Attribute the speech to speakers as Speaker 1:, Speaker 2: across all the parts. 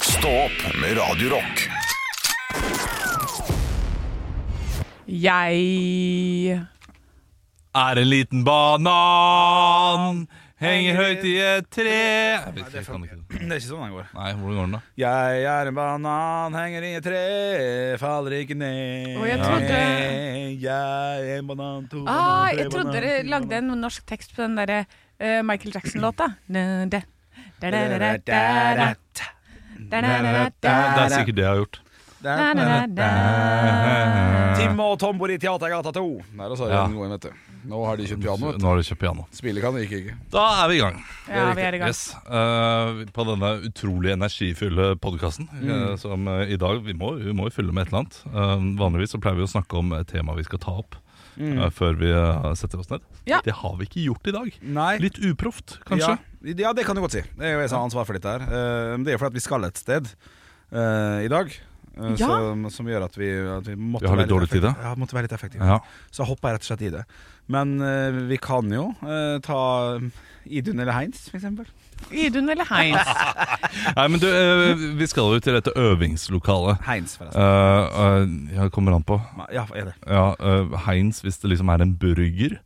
Speaker 1: Stå opp med Radio Rock.
Speaker 2: Jeg
Speaker 3: Er en liten banan Henger høyt i et tre Jeg vet ikke, jeg kan ikke det.
Speaker 4: Det er ikke sånn den går.
Speaker 3: Nei, hvordan går den da?
Speaker 4: Jeg er en banan, henger i et tre, faller ikke ned.
Speaker 2: Å, jeg trodde-
Speaker 4: Jeg er en banan, to
Speaker 2: ah,
Speaker 4: banan, tre
Speaker 2: Jeg trodde
Speaker 4: banan,
Speaker 2: dere
Speaker 4: fire
Speaker 2: lagde
Speaker 4: banan.
Speaker 2: en norsk tekst på den derre eh, Michael Jackson-låta. Nø, det. Da, da, da, da, da, da. Da, da, da, da,
Speaker 3: Det er
Speaker 2: da.
Speaker 3: sikkert det jeg har gjort
Speaker 2: Da, da, da, da.
Speaker 4: Tim og Tom bor i Teatergata 2. Nei, da sa jeg
Speaker 3: Ja.
Speaker 4: den gården, vet du. Nå har de kjøpt piano. vet du.
Speaker 3: Eh, Nå har du kjøpt piano
Speaker 4: Spille kan de ikke, ikke.
Speaker 3: Da er vi i gang
Speaker 2: Ja, vi er i gang.
Speaker 3: yes. Eh, På denne utrolig energifulle podcasten eh, Som eh, i dag, vi må, vi må jo fylle med et eller annet Eh, Vanligvis så pleier vi å snakke om et tema vi skal ta opp
Speaker 4: Mm.
Speaker 3: eh, Før vi eh, setter oss ned
Speaker 2: Ja.
Speaker 3: Det har vi ikke gjort i dag
Speaker 4: Nei.
Speaker 3: Litt uproft, kanskje
Speaker 4: Ja, ja, det kan du godt si. Det er jo jeg som har ansvar for dette her. Eh, men Det er jo fordi at vi skal et sted eh, i dag. eh,
Speaker 2: Ja.
Speaker 4: Som, som gjør at vi, at vi måtte
Speaker 3: Vi har litt
Speaker 4: være
Speaker 3: dårlig tid, da.
Speaker 4: effektive. Ja, måtte være litt effektive.
Speaker 3: Ja.
Speaker 4: Så hoppa jeg rett og slett i det. Men eh, vi kan jo eh, ta Idun eller Heinz, for eksempel.
Speaker 2: Idun eller Heinz?
Speaker 3: Nei, men du, eh, vi skal jo til dette øvingslokalet
Speaker 4: Heinz, forresten.
Speaker 3: Uh, ja, det kommer an på.
Speaker 4: Ja, er det.
Speaker 3: Ja, eh, Heinz hvis det liksom er en burger.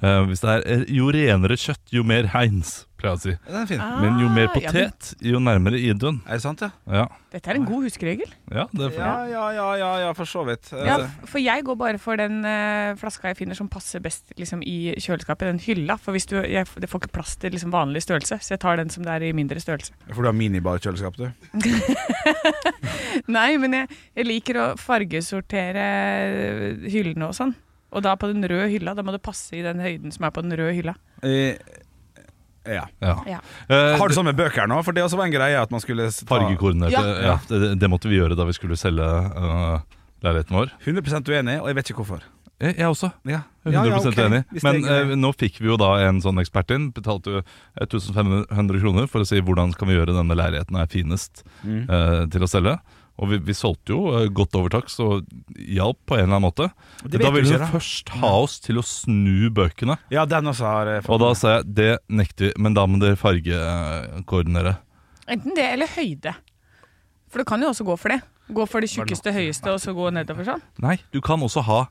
Speaker 3: Eh, hvis det er, eh, jo renere kjøtt, jo mer Heinz, pleier jeg å si.
Speaker 4: Den er fin.
Speaker 3: Men jo mer
Speaker 2: Ah, ja, men-
Speaker 3: potet, jo nærmere Idun.
Speaker 4: Er det sant, ja?
Speaker 3: Ja,
Speaker 2: Dette er en god huskeregel.
Speaker 3: ja det er for
Speaker 4: Ja, ja, ja, ja, ja for så vidt. Eh,
Speaker 2: Ja, for jeg går bare for den eh, flaska jeg finner som passer best liksom, i kjøleskapet, den hylla. For hvis du, jeg, f- det får ikke plass til liksom, vanlig størrelse, så jeg tar den som det er i mindre størrelse.
Speaker 4: Eh, For du har minibarkjøleskap, du?
Speaker 2: Nei, men jeg, jeg liker å fargesortere hyllene og sånn. Og da på den røde hylla, da må det passe i den høyden som er på den røde hylla.
Speaker 4: Eh, ja.
Speaker 3: Ja.
Speaker 2: Ja.
Speaker 3: Eh,
Speaker 4: Har du sånn med bøker nå? For det også var en greie at man skulle ta
Speaker 3: Fargekoordinerte.
Speaker 2: Ja.
Speaker 3: Ja, det, det måtte vi gjøre da vi skulle selge eh, leiligheten vår. Eh,
Speaker 4: 100 uenig, og jeg vet ikke hvorfor.
Speaker 3: Jeg, jeg også.
Speaker 4: Ja.
Speaker 3: 100
Speaker 4: ok.
Speaker 3: enig.
Speaker 4: Hvis det
Speaker 3: Men
Speaker 4: er greit.
Speaker 3: eh, nå fikk vi jo da en sånn ekspert inn. Betalte jo 1500 kroner for å si hvordan kan vi gjøre denne leiligheten her finest
Speaker 4: Mm.
Speaker 3: eh, til å selge. Og vi, vi solgte jo eh, godt over takst og hjalp på en eller annen måte.
Speaker 4: Det
Speaker 3: Men da
Speaker 4: vet vi
Speaker 3: ville hun
Speaker 4: ikke, da.
Speaker 3: først ha oss til å snu bøkene.
Speaker 4: Ja, den også har eh,
Speaker 3: Og
Speaker 4: fått
Speaker 3: da sa jeg det nekter vi, men da må dere fargekoordinere.
Speaker 2: Enten det eller høyde. For du kan jo også gå for det. Gå for det tjukkeste, høyeste, og så gå nedover sånn.
Speaker 3: Nei, du kan også ha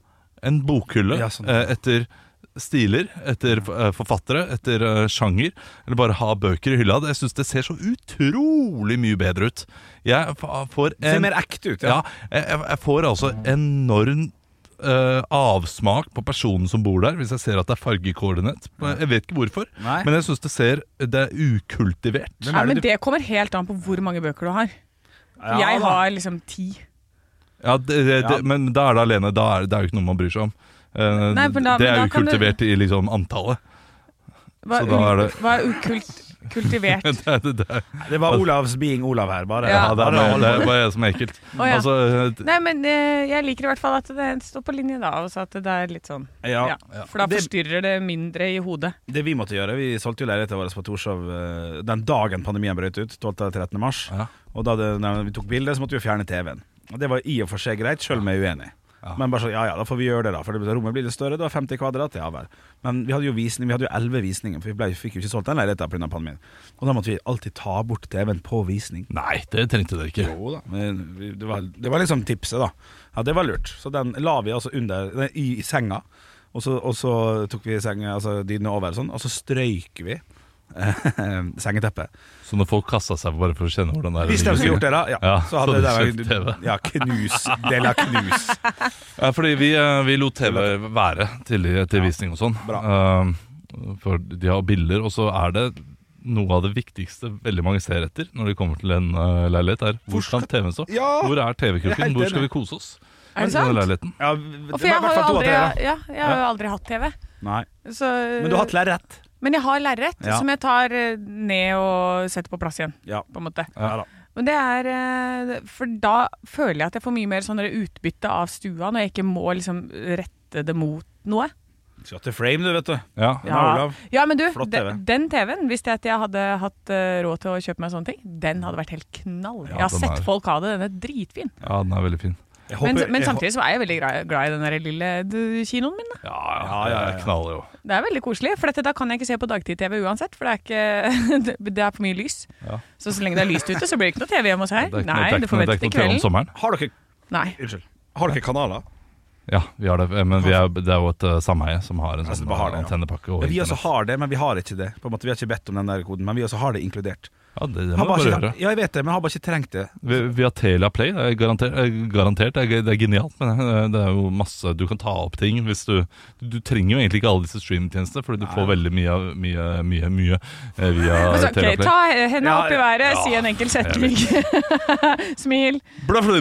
Speaker 3: en bokhylle
Speaker 4: Ja, sånn.
Speaker 3: eh, etter stiler, etter eh, forfattere, etter eh, sjanger. Eller bare ha bøker i hylla. Jeg syns det ser så utrolig mye bedre ut. Jeg fa- får
Speaker 4: Det ser
Speaker 3: en,
Speaker 4: mer ekte ut,
Speaker 3: ja,
Speaker 4: ja.
Speaker 3: jeg, jeg jeg får altså enorm eh, avsmak på personen som bor der, hvis jeg ser at det er fargekoordinert. Jeg vet ikke hvorfor,
Speaker 4: Nei.
Speaker 3: men jeg syns det ser Det er ukultivert.
Speaker 4: Hvem
Speaker 2: Nei,
Speaker 4: er
Speaker 2: men
Speaker 4: det du-
Speaker 2: det kommer helt an på hvor mange bøker du har.
Speaker 4: Ja,
Speaker 2: jeg
Speaker 4: da.
Speaker 2: har liksom ti.
Speaker 3: Ja, det, det,
Speaker 4: Ja.
Speaker 3: Men da er det alene. Da er det er jo ikke noe man bryr seg om. Eh,
Speaker 2: Nei, men da-
Speaker 3: det er
Speaker 2: men da kan du-
Speaker 3: ukultivert i liksom antallet.
Speaker 2: Hva,
Speaker 3: Så da er det-
Speaker 2: hva er ukult, kultivert?
Speaker 3: det, er- det, er-
Speaker 4: Det var Olavs being Olav her, bare.
Speaker 2: Ja.
Speaker 3: ja, det, er,
Speaker 4: bare
Speaker 3: bare-
Speaker 4: hold
Speaker 3: det
Speaker 4: på.
Speaker 3: er bare jeg som er ekkelt.
Speaker 2: Å, ja.
Speaker 3: Altså,
Speaker 2: Nei, men eh, jeg liker i hvert fall at det står på linje da, og så at det er litt sånn.
Speaker 4: Ja.
Speaker 2: Ja, for da
Speaker 4: Det-
Speaker 2: forstyrrer det mindre i hodet.
Speaker 4: Det vi måtte gjøre, vi solgte jo leiligheten vår på Torshov eh, den dagen pandemien brøt ut, 12.-13. mars.
Speaker 3: Ja.
Speaker 4: Og da det, når vi tok bilder, så måtte vi jo fjerne TV-en. Og det var i og for seg greit, sjøl om jeg er uenig. Men bare sånn, ja ja, da får vi gjøre det, da. For det- rommet blir litt større. Det var 50 kvadrat, ja vel. Men vi hadde jo visning, vi hadde jo 11 visninger, for vi ble, fikk jo ikke solgt den leiligheten pga. pandemien. Og da måtte vi alltid ta bort TV-en på visning.
Speaker 3: nei, det trengte dere ikke.
Speaker 4: Jo da, men vi- det var, det var liksom tipset, da. Ja, det var lurt. Så den la vi altså under nei, i, i senga, og så, og så tok vi senga, altså dynene over og sånn, og så strøyk vi eh, sengeteppet.
Speaker 3: Så når folk kasta seg bare for å kjenne hvordan det er å
Speaker 4: Hvis de
Speaker 3: ligge
Speaker 4: skulle gjort
Speaker 3: ved
Speaker 4: det, da, ja,
Speaker 3: Ja,
Speaker 4: så hadde
Speaker 3: så hadde
Speaker 4: det
Speaker 3: du kjøpt TV.
Speaker 4: vært ja, knus. Det la knus.
Speaker 3: siden. Ja, fordi vi, eh, vi lot TV være til, til visning og sånn. Eh, for de har bilder, og så er det noe av det viktigste veldig mange ser etter når de kommer til en eh, leilighet, er hvor kan TV-en stå?
Speaker 4: Ja!
Speaker 3: Hvor er
Speaker 4: Jeg er
Speaker 3: TV-krukken?
Speaker 4: helt
Speaker 3: Hvor skal vi
Speaker 4: enig.
Speaker 3: kose oss?
Speaker 2: Er det sånn?
Speaker 3: I denne
Speaker 2: sant?
Speaker 3: leiligheten?
Speaker 4: Ja,
Speaker 2: Og
Speaker 4: det
Speaker 2: for jeg
Speaker 4: var i
Speaker 2: har
Speaker 4: hvert
Speaker 2: jo
Speaker 4: fall to av
Speaker 2: aldri,
Speaker 4: tre,
Speaker 2: ja,
Speaker 4: da.
Speaker 2: jeg har jo aldri hatt TV.
Speaker 4: Nei.
Speaker 2: Så,
Speaker 4: Men du har hatt lerret.
Speaker 2: men jeg har lerret,
Speaker 4: Ja.
Speaker 2: som jeg tar eh, ned og setter på plass igjen.
Speaker 4: Ja.
Speaker 2: på en måte.
Speaker 4: ja da.
Speaker 2: Men det er eh, For da føler jeg at jeg får mye mer sånn utbytte av stua, når jeg ikke må liksom rette det mot noe.
Speaker 4: Skal til frame, du, vet du.
Speaker 3: Ja.
Speaker 4: Den har Olav.
Speaker 2: ja men du,
Speaker 4: Flott
Speaker 2: de-
Speaker 4: TV.
Speaker 2: den TV-en, hvis det at jeg hadde hatt eh, råd til å kjøpe meg sånne ting, den hadde vært helt knall.
Speaker 3: Ja,
Speaker 2: jeg har
Speaker 3: den
Speaker 2: sett
Speaker 3: er-
Speaker 2: folk ha det, den er dritfin.
Speaker 3: ja, den er veldig fin.
Speaker 4: Jeg
Speaker 2: Men,
Speaker 4: håper-
Speaker 2: men
Speaker 4: jeg hå-
Speaker 2: samtidig så er jeg veldig glad, glad i den der lille d- kinoen min. Da.
Speaker 3: Ja, ja,
Speaker 4: Ja, ja, ja.
Speaker 3: jeg knaller jo.
Speaker 2: Det er veldig koselig, for dette, da kan jeg ikke se på dagtid-TV uansett. For det er, ikke, det er for mye lys.
Speaker 3: Ja.
Speaker 2: Så så lenge det er lyst ute, så blir det ikke noe TV hjemme hos her.
Speaker 3: Det er ikke
Speaker 2: Nei,
Speaker 3: noe, det er
Speaker 2: du
Speaker 3: ikke
Speaker 2: får
Speaker 3: noe, det
Speaker 2: vente til
Speaker 3: er ikke noe TV om
Speaker 2: kvelden.
Speaker 3: sommeren.
Speaker 4: Har dere
Speaker 2: Nei.
Speaker 4: Unnskyld. Har dere kanaler?
Speaker 3: Ja, vi har det, eh, men vi er, det er jo et eh, sameie som har en
Speaker 4: Altså,
Speaker 3: sånn
Speaker 4: bare har det,
Speaker 3: eh,
Speaker 4: ja.
Speaker 3: antennepakke.
Speaker 4: Ja,
Speaker 3: Og
Speaker 4: vi også
Speaker 3: internett.
Speaker 4: har det, men vi har ikke det. På en måte, vi har ikke bedt om den der koden, men vi også har det inkludert.
Speaker 3: Ja, det, det
Speaker 4: Har
Speaker 3: må
Speaker 4: bare
Speaker 3: vi
Speaker 4: ikke,
Speaker 3: bare gjøre.
Speaker 4: ja, jeg vet det, men har bare ikke trengt det.
Speaker 3: Vi, vi har Telia Play. Det er garantert, eh, garantert det, er, det er genialt, men eh, det er jo masse Du kan ta opp ting hvis du Du, du trenger jo egentlig ikke alle disse streamtjenestene, fordi du får veldig mye, av- mye, mye, mye eh,
Speaker 2: Men så,
Speaker 3: via Telia
Speaker 2: Altså, ok,
Speaker 3: Play.
Speaker 2: ta henda
Speaker 4: Ja,
Speaker 2: opp i
Speaker 4: ja.
Speaker 2: været,
Speaker 3: Ja.
Speaker 2: si en enkel setning. Smil.
Speaker 4: Bluff,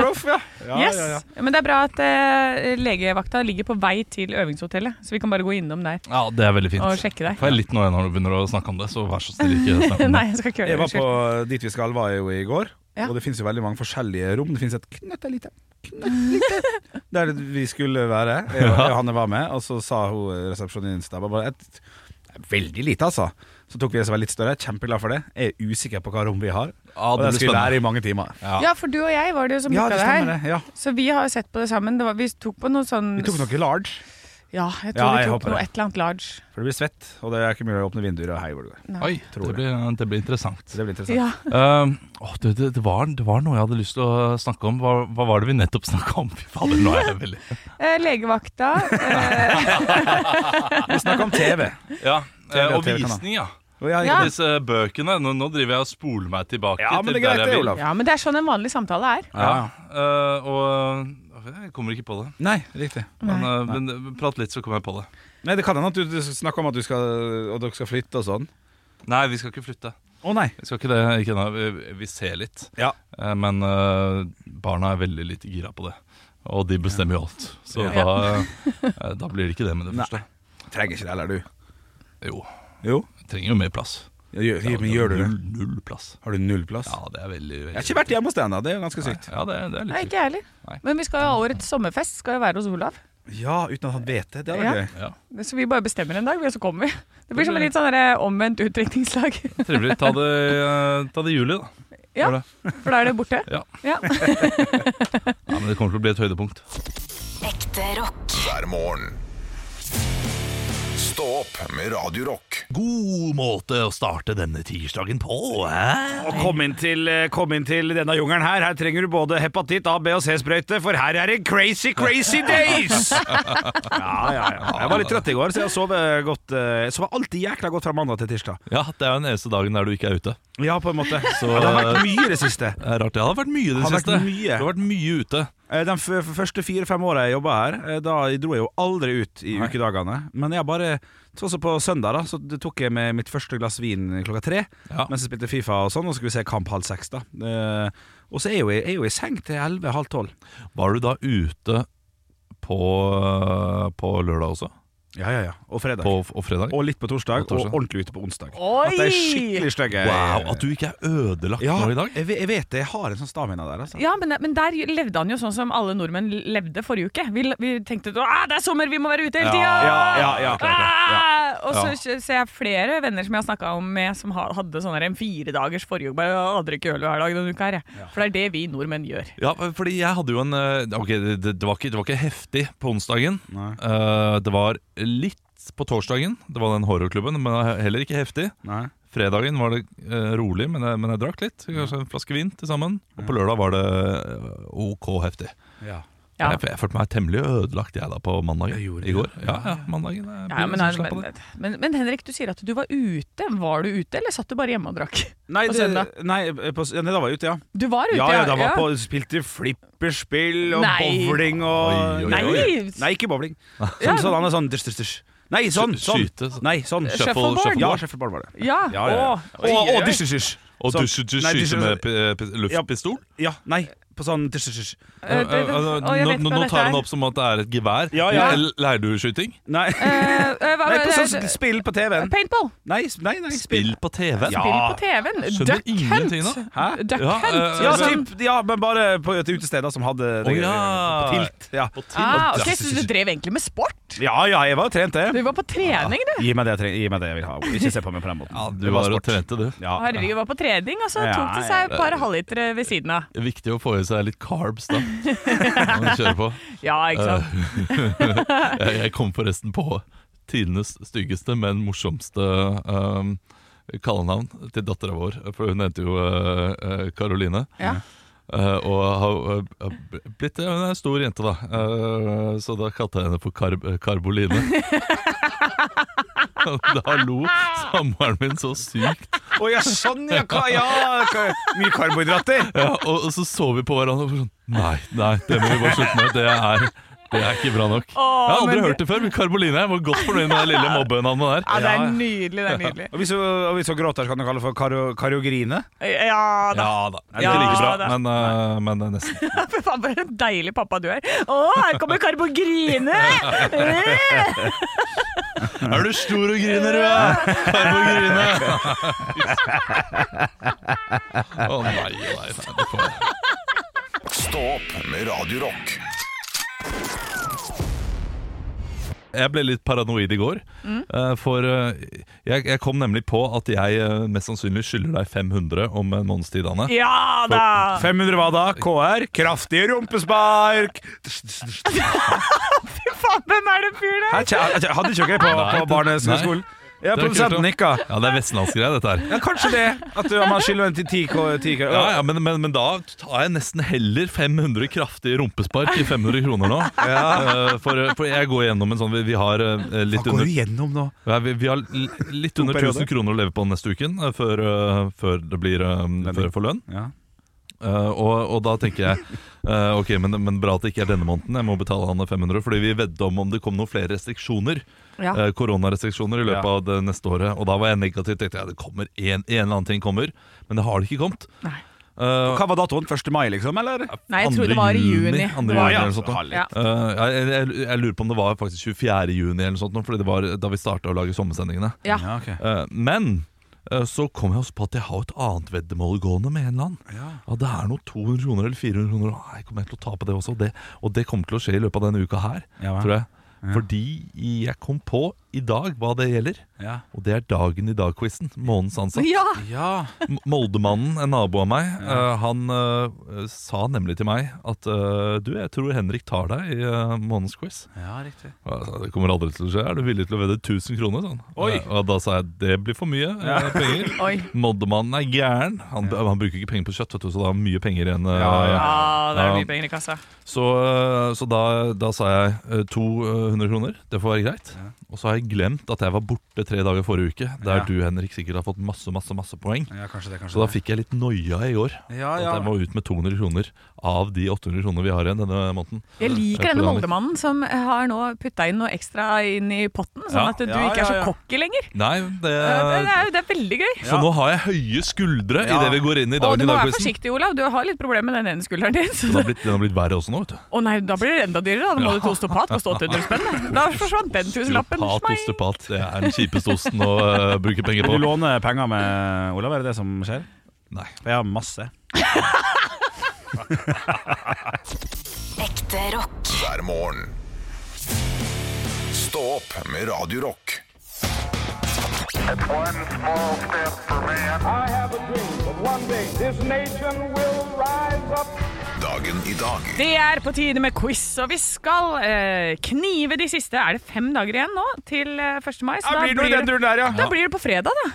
Speaker 4: bluff, ja. Ja,
Speaker 2: Yes.
Speaker 4: ja, ja.
Speaker 2: Men det er bra at eh, legevakta ligger på vei til øvingshotellet, så vi kan bare gå innom der
Speaker 3: Ja, det er veldig
Speaker 2: og
Speaker 3: fint.
Speaker 2: sjekke deg.
Speaker 3: Får jeg litt noe når du begynner å snakke om det, så vær så snill, ikke snakk om
Speaker 2: Nei,
Speaker 3: det.
Speaker 2: jeg skal ikke
Speaker 4: Jeg
Speaker 2: gjøre det.
Speaker 4: var på
Speaker 2: Unnskyld.
Speaker 4: Dit vi skal var jeg jo i går,
Speaker 2: Ja.
Speaker 4: og det finnes jo veldig mange forskjellige rom. Det finnes et knøttelite knøttelite, Der vi skulle være. Jeg og Johanne var med, og så sa hun resepsjonisten der bare et Veldig lite, altså. Så tok vi oss litt større. Kjempeglad for det. Jeg er usikker på hva rom vi har.
Speaker 3: Ja,
Speaker 4: og
Speaker 3: det
Speaker 4: det
Speaker 3: blir
Speaker 4: skulle
Speaker 3: spennende.
Speaker 4: være i mange timer.
Speaker 3: Ja.
Speaker 2: Ja, for du og jeg var det jo som
Speaker 4: Ja,
Speaker 2: booka
Speaker 4: det
Speaker 2: det
Speaker 4: stemmer
Speaker 2: her.
Speaker 4: det. Ja.
Speaker 2: Så vi har jo sett på det sammen. Det var, vi tok på noe sånn
Speaker 4: Vi tok noe large,
Speaker 2: Ja, jeg
Speaker 4: Ja,
Speaker 2: tror
Speaker 4: jeg
Speaker 2: vi
Speaker 4: håper
Speaker 2: tok noe
Speaker 4: det.
Speaker 2: et eller annet large.
Speaker 4: for det blir svett, og det er ikke mulig å åpne vinduer og hei hvor det går.
Speaker 2: Nei.
Speaker 3: Oi,
Speaker 4: Tror
Speaker 3: det blir, eh, det blir interessant.
Speaker 4: Så det blir interessant.
Speaker 2: Ja.
Speaker 3: Um, åh, det, det, det, var, det var noe jeg hadde lyst til å snakke om. Hva, hva var det vi nettopp snakka om? Fy fader, nå er jeg veldig
Speaker 2: Eh, legevakta. Eh,
Speaker 4: Vi snakker om TV.
Speaker 3: Ja, eh, Og
Speaker 4: TV-kanal.
Speaker 3: visning, ja.
Speaker 4: Og jeg,
Speaker 2: Ja.
Speaker 3: Disse bøkene. Nå, nå driver jeg og spoler meg tilbake.
Speaker 4: Ja, men
Speaker 3: til
Speaker 4: det er
Speaker 3: der
Speaker 4: greit
Speaker 3: jeg
Speaker 4: det,
Speaker 3: vil.
Speaker 4: Olav.
Speaker 2: ja, men det er sånn en vanlig samtale er.
Speaker 3: Ja, eh, og øh, Jeg kommer ikke på det.
Speaker 4: Nei, riktig.
Speaker 3: Men,
Speaker 2: Nei.
Speaker 3: eh, men prat litt, så kommer jeg på det.
Speaker 4: Nei, Det kan hende at du, du snakker om at du skal, og dere skal flytte og sånn.
Speaker 3: Nei, vi skal ikke flytte.
Speaker 4: Å nei.
Speaker 3: Vi skal ikke det, ikke ennå. Vi, vi ser litt.
Speaker 4: Ja.
Speaker 3: Eh, men eh, barna er veldig lite gira på det. Og de bestemmer jo alt. Så
Speaker 4: Ja.
Speaker 3: da, eh, da blir det ikke det med det
Speaker 4: Nei.
Speaker 3: første.
Speaker 4: Trenger ikke det heller, du.
Speaker 3: Jo,
Speaker 4: Jo.
Speaker 3: vi trenger jo mer plass.
Speaker 4: Gjør, men gjør du det?
Speaker 3: Null, null plass.
Speaker 4: Har du null plass?
Speaker 3: Ja, det er veldig, veldig
Speaker 4: Jeg har ikke vært hjemme hos deg ennå, det er jo ganske sykt.
Speaker 3: Ja, det, er- det er
Speaker 2: Nei,
Speaker 3: litt
Speaker 2: ikke jeg heller.
Speaker 3: Nei.
Speaker 2: Men vi skal jo ha årets sommerfest, skal jo være hos Olav.
Speaker 4: Ja, uten at han vet det. Det hadde
Speaker 2: Ja.
Speaker 4: vært gøy.
Speaker 3: sykt. Ja.
Speaker 2: Så vi bare bestemmer en dag, og så kommer vi. Det blir som en litt sånn der omvendt utdrikningslag.
Speaker 3: Trivelig. Ta det, eh, ta det i juli, da.
Speaker 2: Ja,
Speaker 3: Gjør det.
Speaker 2: for da er det borte.
Speaker 3: Ja.
Speaker 2: Ja.
Speaker 3: Ja, men det kommer til å bli et høydepunkt.
Speaker 5: Ekte rock.
Speaker 1: hver morgen. Stå opp med Radio Rock.
Speaker 3: God måte å starte denne tirsdagen på, hæ?
Speaker 4: Og kom inn, til, eh, kom inn til denne jungelen her. Her trenger du både hepatitt A, B og C-sprøyte, for her er det crazy, crazy days! Ja, ja, ja. Jeg var litt trøtt i går, så jeg sov eh, godt. eh, Jeg sov alltid jækla godt fra mandag til tirsdag.
Speaker 3: Ja, det er jo den eneste dagen der du ikke er ute.
Speaker 4: Ja, på en måte. Så, det har vært mye i det siste.
Speaker 3: Det er rart. Det har vært mye i det
Speaker 4: Har vært
Speaker 3: siste.
Speaker 4: mye.
Speaker 3: Det har vært mye ute.
Speaker 4: Eh, De f- f- første fire-fem åra jeg jobba her, eh, da dro jeg jo aldri ut i ukedagene. Men jeg bare Sånn som på søndag, da, så det tok jeg med mitt første glass vin klokka tre.
Speaker 3: Ja.
Speaker 4: Mens jeg spilte Fifa og sånn, og så skulle vi se kamp halv seks, da. Eh, Og så er jo jeg, er jo i seng til elleve-halv tolv.
Speaker 3: Var du da ute på, på lørdag også?
Speaker 4: Ja, ja, ja. Og fredag.
Speaker 3: På, og fredag?
Speaker 4: og litt på torsdag,
Speaker 3: Og torsdag.
Speaker 4: og ordentlig ute på onsdag. At det er
Speaker 2: Oi!
Speaker 4: skikkelig stygge
Speaker 3: Wow, at du ikke er ødelagt
Speaker 4: ja,
Speaker 3: nå i dag?
Speaker 4: Jeg, ve- jeg vet det. Jeg har en sånn stamina der, altså.
Speaker 2: Ja, men, men der levde han jo sånn som alle nordmenn levde forrige uke. Vi, vi tenkte at det er sommer, vi må være ute hele tida!
Speaker 4: ja, ja, ja, klart det.
Speaker 2: Ah! Og
Speaker 3: Ja.
Speaker 2: så ser jeg flere venner som jeg har snakka med, som har- hadde sånn her en firedagers forrige uke. Bare «Jeg hadde ikke øl hver dag denne uka her, jeg». For det er det vi nordmenn gjør.
Speaker 3: Ja, fordi jeg hadde jo en eh, Ok, det, det, var, ikke, det var ikke heftig på onsdagen.
Speaker 4: Nei.
Speaker 3: Eh, det var litt på torsdagen. Det var den horrorklubben, men heller ikke heftig.
Speaker 4: Nei.
Speaker 3: Fredagen var det eh, rolig, men jeg, men jeg drakk litt. Kanskje en flaske vin til sammen. Og på lørdag var det eh, OK heftig.
Speaker 4: Ja.
Speaker 2: Ja.
Speaker 3: Jeg, jeg følte meg temmelig ødelagt jeg da på mandagen
Speaker 4: Jeg gjorde
Speaker 3: i
Speaker 4: det,
Speaker 3: går. Ja, ja, mandagen jeg
Speaker 2: Ja, men,
Speaker 3: ble liksom slapp av
Speaker 2: men, men, men Henrik, du sier at du var ute. Var du ute, eller satt du bare hjemme og drakk?
Speaker 4: Nei,
Speaker 2: På
Speaker 4: det,
Speaker 2: søndag.
Speaker 4: nei, på, s- ja, nei, da var jeg ute, ja.
Speaker 2: Du var ute,
Speaker 4: Ja, ja, da var jeg på, spilte flipperspill og
Speaker 2: Nei.
Speaker 4: bowling og
Speaker 3: Oi, oi,
Speaker 2: Nei. oi.
Speaker 4: Nei, ikke bowling.
Speaker 2: Ja.
Speaker 4: Sånn, sånn, han er sånn, ders, ders, ders. Nei, sånn! sånn.
Speaker 3: Skyte, sånn.
Speaker 4: Nei, sånn.
Speaker 3: det.
Speaker 2: Shuffle-
Speaker 3: Shuffleboard.
Speaker 2: shuffleboard.
Speaker 4: Ja, shuffleboard var det.
Speaker 2: Ja,
Speaker 4: Ja, ja, ja.
Speaker 2: Å,
Speaker 4: Og,
Speaker 2: oi,
Speaker 4: og
Speaker 2: oi.
Speaker 4: ders, ders, ders.
Speaker 3: Og
Speaker 4: Sånn.
Speaker 3: du, du,
Speaker 4: Nei,
Speaker 3: skyter
Speaker 4: ders-
Speaker 3: med pi- pi- luftpistol?
Speaker 4: Ja, nei, på sånn ders, ders, ders.
Speaker 2: Eh, det- det-
Speaker 3: Eh, eh,
Speaker 2: å, jeg
Speaker 3: nå,
Speaker 2: vet
Speaker 3: nå
Speaker 2: hva
Speaker 3: nå
Speaker 2: dette
Speaker 3: tar han
Speaker 2: er.
Speaker 3: opp som at det er et gevær.
Speaker 4: Ja, ja.
Speaker 3: Eller Leirduskyting?
Speaker 4: Nei.
Speaker 2: Eh, eh, hva-
Speaker 4: nei, på
Speaker 2: hva- eh,
Speaker 4: sånn spill på TV-en.
Speaker 2: Paintball.
Speaker 4: Nei, s- nei, nei,
Speaker 3: Spill på TV-en?
Speaker 4: Ja.
Speaker 2: Spill på TV-en.
Speaker 3: Skjønner
Speaker 2: Duck Hunt.
Speaker 3: ingenting nå.
Speaker 4: Hæ?
Speaker 2: Duck
Speaker 3: Ja,
Speaker 2: Hunt.
Speaker 3: eh,
Speaker 4: Ja,
Speaker 2: sånn-
Speaker 4: typ, ja, men bare på et utested da, som hadde det,
Speaker 3: Å, ja.
Speaker 4: på tilt. Ja.
Speaker 2: ah,
Speaker 3: Duck
Speaker 2: ok, Så du
Speaker 3: Hunt.
Speaker 2: drev egentlig med sport?
Speaker 4: ja, ja, jeg var jo trent, det.
Speaker 2: Du var på trening, du.
Speaker 4: Gi meg det jeg trenger. Gi meg det jeg vil ha. Ikke se på meg på den måten.
Speaker 3: Ja, du
Speaker 4: Det
Speaker 3: var og
Speaker 4: sport.
Speaker 3: trente, du.
Speaker 4: Ja.
Speaker 2: Herregud, var på trening, og så
Speaker 4: Ja,
Speaker 2: tok det seg et par halvlitere ved siden av.
Speaker 3: Viktig å få i seg litt carbs da. Når man kjører på.
Speaker 2: Ja, ikke sant?
Speaker 3: Eh, jeg, jeg kom forresten på tidenes styggeste, men morsomste um, kallenavn til dattera vår. For hun heter jo eh, Karoline.
Speaker 2: Ja.
Speaker 3: og har eh, blitt ja, Hun er en stor jente, da. Eh, så da kalte jeg henne for eh, Karb Karboline. da lo samboeren min så sykt.
Speaker 4: Å ja, sånn ja! Ka, ja ka, mye karbohydrater!
Speaker 3: Ja, og, og så så vi på hverandre og bare sånn Nei, nei, det må vi bare slutte med. Det er, det er ikke bra nok. jeg har aldri
Speaker 2: men-
Speaker 3: hørt det før, men Karboline jeg var godt fornøyd med det lille mobbenavnet
Speaker 2: Ja,
Speaker 3: der.
Speaker 2: det er
Speaker 4: Ja.
Speaker 2: nydelig. det er nydelig
Speaker 4: Og hvis du, og hvis du gråter, så kan du kalle det for karo, kariogrine.
Speaker 2: Ja da.
Speaker 3: Ja da. Ikke
Speaker 2: Ja
Speaker 3: like bra,
Speaker 2: da.
Speaker 3: men, eh, men eh, nesten.
Speaker 2: Fy faen, for en deilig pappa du er. Å, her kommer Karbogrine!
Speaker 3: Er du stor og griner, du, ja? Karboline! Å nei, nei, nei. det får jeg.
Speaker 1: Stå opp med Radio Rock.
Speaker 3: Jeg ble litt paranoid i går,
Speaker 4: Mm.
Speaker 3: eh, for eh, jeg, jeg kom nemlig på at jeg eh, mest sannsynlig skylder deg 500 om eh, en måneds tid, Anne.
Speaker 2: Ja da!
Speaker 4: 500 hva da? KR? Kraftige rumpespark!
Speaker 2: Fy faen, hvem er det fyren
Speaker 4: Her,
Speaker 2: der?
Speaker 4: kjæ- kjæ- hadde ikke dere på,
Speaker 3: Nei,
Speaker 4: på
Speaker 3: det-
Speaker 4: barneskolen? Ja,
Speaker 3: Det er kult,
Speaker 4: produsenten
Speaker 3: da.
Speaker 4: nikka.
Speaker 3: Ja, det er vestlandsgreie, dette her.
Speaker 4: Ja, kanskje det. At du- man skylder en til 10 K. 10 K.
Speaker 3: Ja, ja, men, men, men da tar jeg nesten heller 500 kraftige rumpespark i 500 kroner nå. Eh, For, for jeg går gjennom en sånn Vi, vi har eh, litt
Speaker 4: Hva går
Speaker 3: under
Speaker 4: du gjennom nå?
Speaker 3: ja, vi, vi har l- litt under
Speaker 4: perioder.
Speaker 3: 1000 kroner å leve på neste uken eh, før, eh, før det blir eh, før jeg får lønn.
Speaker 4: Ja.
Speaker 3: Eh, og, og da tenker jeg eh, Ok, men, men bra at det ikke er denne måneden. Jeg må betale han 500, fordi vi vedda om om det kom noen flere restriksjoner.
Speaker 2: Ja.
Speaker 3: eh, Koronarestriksjoner i løpet
Speaker 4: Ja.
Speaker 3: av det neste året. Og da var jeg negativ. Tenkte jeg det kommer en, en eller annen ting kommer. Men det har det ikke kommet.
Speaker 2: Nei.
Speaker 3: Eh,
Speaker 4: Hva var datoen? 1. mai, liksom? Eller?
Speaker 2: Nei, jeg tror
Speaker 3: Andre
Speaker 2: det var i juni.
Speaker 3: juni, andre
Speaker 2: Det var-
Speaker 3: juni.
Speaker 2: ja.
Speaker 3: eller sånt da.
Speaker 4: halv-
Speaker 2: Ja.
Speaker 3: Eh, jeg, jeg, jeg lurer på om det var faktisk 24. juni eller noe sånt, nå, fordi det var da vi starta å lage sommersendingene.
Speaker 2: Ja.
Speaker 4: Ja, ok.
Speaker 3: Eh, men eh, så kom jeg også på at jeg har et annet veddemål gående med en eller annen.
Speaker 4: Ja.
Speaker 3: Ja, det er noe 200 kroner eller 400 kroner, og jeg kommer til å tape det også. og Det, og det kommer til å skje i løpet av denne uka her,
Speaker 4: Ja, hva?
Speaker 3: tror jeg. Fordi jeg kom på i dag hva det gjelder,
Speaker 4: Ja.
Speaker 3: og det er dagen i dag-quizen. Månedens ansatt.
Speaker 2: ja.
Speaker 4: ja.
Speaker 3: M- Moldemannen, en nabo av meg, eh, han eh, sa nemlig til meg at eh, Du, jeg tror Henrik tar deg i eh, månedens quiz.
Speaker 4: Ja, riktig.
Speaker 3: Og jeg sa, det kommer aldri til å skje. Er du villig til å vedde 1000 kroner? Sånn.
Speaker 4: Oi.
Speaker 3: og da sa jeg det blir for mye eh, penger.
Speaker 2: Oi.
Speaker 3: Moldemannen er gæren. Han, han bruker ikke penger på kjøtt, vet du, så da har han mye penger igjen. eh,
Speaker 4: Ja, ja.
Speaker 2: Ja, det er
Speaker 3: Ja.
Speaker 2: mye penger i kassa.
Speaker 3: Så, eh, så da, da sa jeg eh, 200 kroner. Det får være greit. Og så har jeg glemt at jeg var borte tre dager forrige uke, der
Speaker 4: Ja.
Speaker 3: du, Henrik, sikkert har fått masse, masse, masse poeng.
Speaker 4: Ja, kanskje det, kanskje
Speaker 3: Så da
Speaker 4: det.
Speaker 3: fikk jeg litt noia i går.
Speaker 4: Ja,
Speaker 3: At
Speaker 4: ja.
Speaker 3: jeg må ut med 200 kroner av de 800 kroner vi har igjen denne måneden.
Speaker 2: Jeg liker
Speaker 3: Takk for
Speaker 2: denne
Speaker 3: det, Anne.
Speaker 2: Moldemannen som har nå putta inn noe ekstra inn i potten, sånn
Speaker 3: Ja.
Speaker 2: at du
Speaker 4: Ja,
Speaker 2: ikke er
Speaker 4: ja,
Speaker 2: så
Speaker 4: ja.
Speaker 2: cocky lenger.
Speaker 3: Nei, det,
Speaker 2: Det er, det er veldig gøy.
Speaker 3: Så nå har jeg høye skuldre
Speaker 4: Ja.
Speaker 3: idet vi går inn i
Speaker 2: Og
Speaker 3: dagen
Speaker 2: du må
Speaker 3: i dag.
Speaker 2: være
Speaker 3: Quizzen.
Speaker 2: forsiktig, Olav. Du har litt problemer med den ene skulderen din.
Speaker 3: Den
Speaker 2: Så.
Speaker 3: har, blitt, den har blitt verre også nå, vet du.
Speaker 2: Å nei, da blir det enda dyrere. Da Da må du til osteopat og stå 800 spenn. da. Da forsvant den tusenlappen.
Speaker 3: Osteopat,
Speaker 2: Smei.
Speaker 3: osteopat. Det er den kjipeste osten å eh, bruke penger
Speaker 4: Du
Speaker 3: på.
Speaker 4: låner penger med Olav, er det det som skjer?
Speaker 3: Nei.
Speaker 4: For jeg har masse.
Speaker 5: Ekte rock.
Speaker 1: hver morgen. Stå opp med Radio Rock.
Speaker 6: One small step for man.
Speaker 7: I have a dream that one day this nation will rise up.
Speaker 1: Dagen i dag
Speaker 2: Det er på tide med quiz, og vi skal eh, knive de siste. Er det fem dager igjen nå til eh, 1. mai? Så
Speaker 4: Ja,
Speaker 2: da,
Speaker 4: blir det jo den turen der, ja.
Speaker 2: da blir det på fredag, da.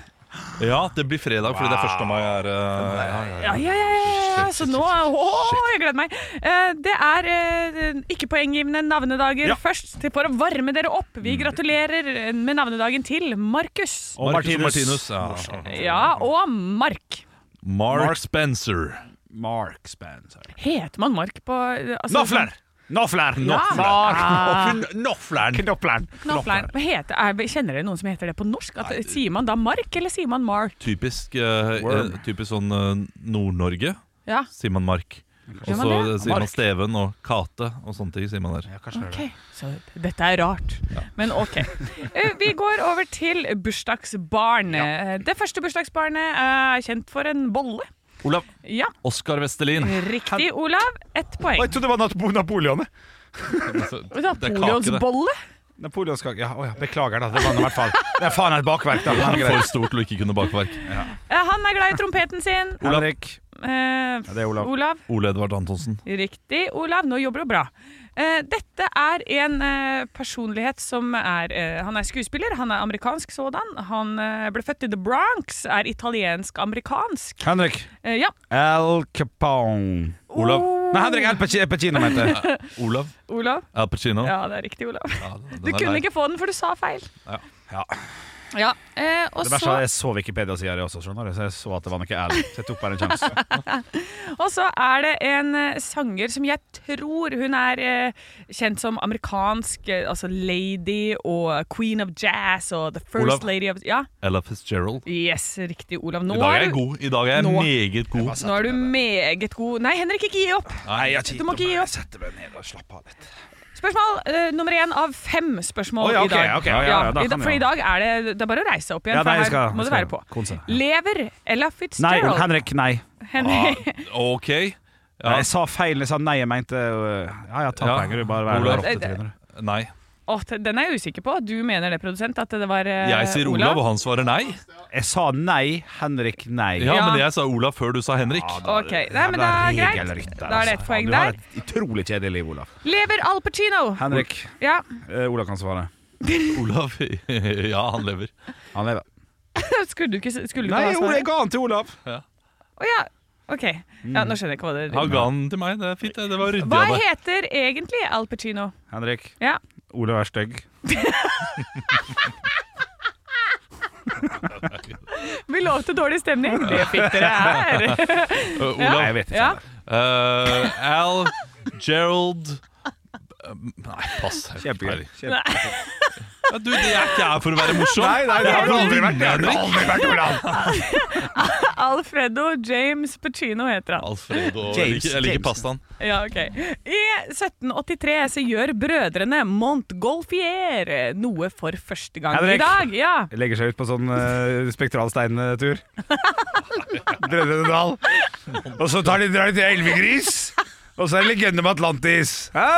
Speaker 3: Ja, det blir fredag fordi det er 1. mai. Er, eh, ja, ja, ja.
Speaker 2: Ja, ja, ja, ja, ja. Så nå Å, jeg gleder meg. Eh, Det er eh, ikke-poenggivende navnedager
Speaker 4: Ja. Mm.
Speaker 2: først til- for å varme dere opp. Vi gratulerer eh, med navnedagen til Markus.
Speaker 4: Og
Speaker 3: Marcus og
Speaker 4: Martinus.
Speaker 3: Martinus, ja.
Speaker 2: Ja, og Mark.
Speaker 3: Mark Spencer.
Speaker 4: Mark Spencer.
Speaker 2: Heter man Mark på altså,
Speaker 4: Nofler! Nofler!
Speaker 2: Ja.
Speaker 4: Nofler! Knopleren.
Speaker 2: Knopflern. Hva heter, er, kjenner dere noen som heter det på norsk? At, sier man da Mark, eller sier man Mark?
Speaker 3: Typisk, eh,
Speaker 4: Worm.
Speaker 3: eh, typisk sånn eh, Nord-Norge,
Speaker 2: Ja,
Speaker 3: sier man Mark. Og
Speaker 2: Gjør man
Speaker 3: så
Speaker 2: det?
Speaker 3: sier man
Speaker 4: Mark.
Speaker 3: Steven og Kate og sånne ting. sier man der
Speaker 4: Ja, kanskje det er det.
Speaker 2: ok. Så dette er rart, men ok. Eh, Vi går over til bursdagsbarn. Eh, Det første bursdagsbarnet er kjent for en bolle.
Speaker 3: Olav
Speaker 2: Ja,
Speaker 3: Oskar Vestelin.
Speaker 2: Riktig, Olav. Ett poeng.
Speaker 4: Å, Jeg trodde det var Nat- Napoleon. jeg.
Speaker 3: Altså,
Speaker 2: Napoleonsbolle?
Speaker 4: Napoleonskake. Ja, å ja, beklager, da. Det var nå i hvert fall Det er faen et bakverk, da. Men greit.
Speaker 3: For stort til å ikke kunne bakverk.
Speaker 2: Eh, Han er glad i trompeten sin.
Speaker 4: Henrik.
Speaker 2: eh,
Speaker 4: Ja, det er Olav.
Speaker 2: Olav.
Speaker 3: Ole Edvard Antonsen.
Speaker 2: Riktig, Olav. Nå jobber du bra. Eh, dette er en eh, personlighet som er eh, Han er skuespiller, han er amerikansk sådan. Han eh, ble født i The Bronx, er italiensk-amerikansk.
Speaker 4: Henrik
Speaker 2: Eh, ja.
Speaker 4: Al Capone.
Speaker 3: Olav.
Speaker 4: Nei, Henrik Al Paci- Pacino, mente jeg.
Speaker 3: Olav
Speaker 2: Olav.
Speaker 3: Al Pacino.
Speaker 2: Ja, det er riktig, Olav.
Speaker 3: Ja, den
Speaker 2: Du
Speaker 3: er
Speaker 2: kunne
Speaker 3: lei.
Speaker 2: ikke få den, for du sa feil.
Speaker 3: Ja.
Speaker 4: Ja.
Speaker 2: Ja, eh, og
Speaker 4: Det verste er
Speaker 2: så,
Speaker 4: at jeg så Wikipedia-sida di også, skjønner du. Så jeg så at det var noe Al. Så jeg tok bare en sjanse.
Speaker 2: og så er det en eh, sanger som jeg tror hun er eh, kjent som amerikansk eh, Altså lady og queen of jazz og the first
Speaker 3: Olav.
Speaker 2: lady of Ja,
Speaker 3: Ella Fitzgerald.
Speaker 2: yes, riktig, Olav. Nå
Speaker 3: I dag er
Speaker 2: du-
Speaker 3: jeg god. I dag er jeg
Speaker 2: Nå-
Speaker 3: meget god.
Speaker 2: Nå er du meget god. Nei, Henrik, ikke gi opp.
Speaker 4: Altså, Nei, jeg har ikke
Speaker 2: Du må ikke
Speaker 4: gitt
Speaker 2: gi
Speaker 4: meg.
Speaker 2: opp.
Speaker 4: Jeg setter meg ned og slapper av litt.
Speaker 2: Spørsmål eh, nummer én av fem spørsmål
Speaker 4: Å, ja,
Speaker 2: i
Speaker 4: ok,
Speaker 2: dag.
Speaker 4: ok, ja, ja, ja, da
Speaker 2: i,
Speaker 4: kan
Speaker 2: for
Speaker 4: jeg.
Speaker 2: i dag er det, det er bare å reise opp igjen,
Speaker 4: Ja, nei,
Speaker 2: for her
Speaker 4: jeg
Speaker 2: må
Speaker 4: skal- jeg
Speaker 2: du
Speaker 4: skal
Speaker 2: være på.
Speaker 4: konse.
Speaker 2: Lever Ella
Speaker 4: Nei,
Speaker 2: Fitzgerald?
Speaker 4: Henrik, nei.
Speaker 2: Henrik.
Speaker 3: Ah, Ok. Ja.
Speaker 4: Nei, Jeg sa feil. Jeg sa nei, jeg mente øh, Ja, ja, ta
Speaker 3: Ja.
Speaker 4: penger, du. Bare vær
Speaker 3: Olav.
Speaker 4: vær ofte, Trine, du.
Speaker 3: Nei.
Speaker 2: Å, t- den er jeg usikker på. Du mener det, produsent, at det var eh,
Speaker 3: Jeg sier Olav, og han svarer nei.
Speaker 4: Jeg sa nei, Henrik, nei.
Speaker 3: Ja,
Speaker 2: Ja.
Speaker 3: men jeg sa Olav før du sa Henrik.
Speaker 4: Ah,
Speaker 2: Ok, nei, men det er greit.
Speaker 4: regelrytter,
Speaker 2: Da er det et
Speaker 4: altså.
Speaker 2: poeng
Speaker 4: Du har
Speaker 2: der.
Speaker 4: et utrolig kjedelig liv, Olav.
Speaker 2: Lever Al Pacino?
Speaker 4: Henrik,
Speaker 2: Ja.
Speaker 4: eh, Olav kan svare.
Speaker 3: Olav, ja, han lever.
Speaker 4: Han lever.
Speaker 2: Skulle du ikke skulle du
Speaker 4: Nei,
Speaker 2: ikke ha
Speaker 4: jo,
Speaker 2: svaret?
Speaker 4: jeg ga Mm. han til Olav.
Speaker 2: Å ja. Ok. Ja, nå skjønner jeg ikke hva det
Speaker 3: Han ga den til meg. Det er fint, det. Det var ryddig
Speaker 2: Hva
Speaker 3: av deg.
Speaker 2: heter egentlig Al Pacino?
Speaker 4: Henrik,
Speaker 2: Ja.
Speaker 4: Olav er stygg.
Speaker 2: Vi lovte dårlig stemning. Det fikk dere her.
Speaker 3: Uh,
Speaker 4: Nei,
Speaker 3: Olav.
Speaker 4: jeg vet ikke.
Speaker 2: Ja.
Speaker 3: Uh, Al Gerald um, Nei, pass.
Speaker 4: Kjempegøy.
Speaker 3: Ferdig. Ja, du, det er ikke her for å være morsom.
Speaker 4: Nei, nei, det har du aldri vært. Det har du
Speaker 3: Henrik.
Speaker 4: aldri vært, Olav.
Speaker 2: Alfredo James Pacino heter han.
Speaker 3: Alfredo. Jeg
Speaker 4: James,
Speaker 3: liker, jeg liker
Speaker 4: James.
Speaker 3: pastaen.
Speaker 2: Ja, ok. I 1783 så gjør brødrene Montgolfier noe for første gang i
Speaker 4: Henrik.
Speaker 2: dag. Ja.
Speaker 4: Legger seg ut på sånn uh, spektralsteintur. Brødrene Dal. Og så tar de, drar de til Elvegris. Og så er det legenden om Atlantis. Hæ?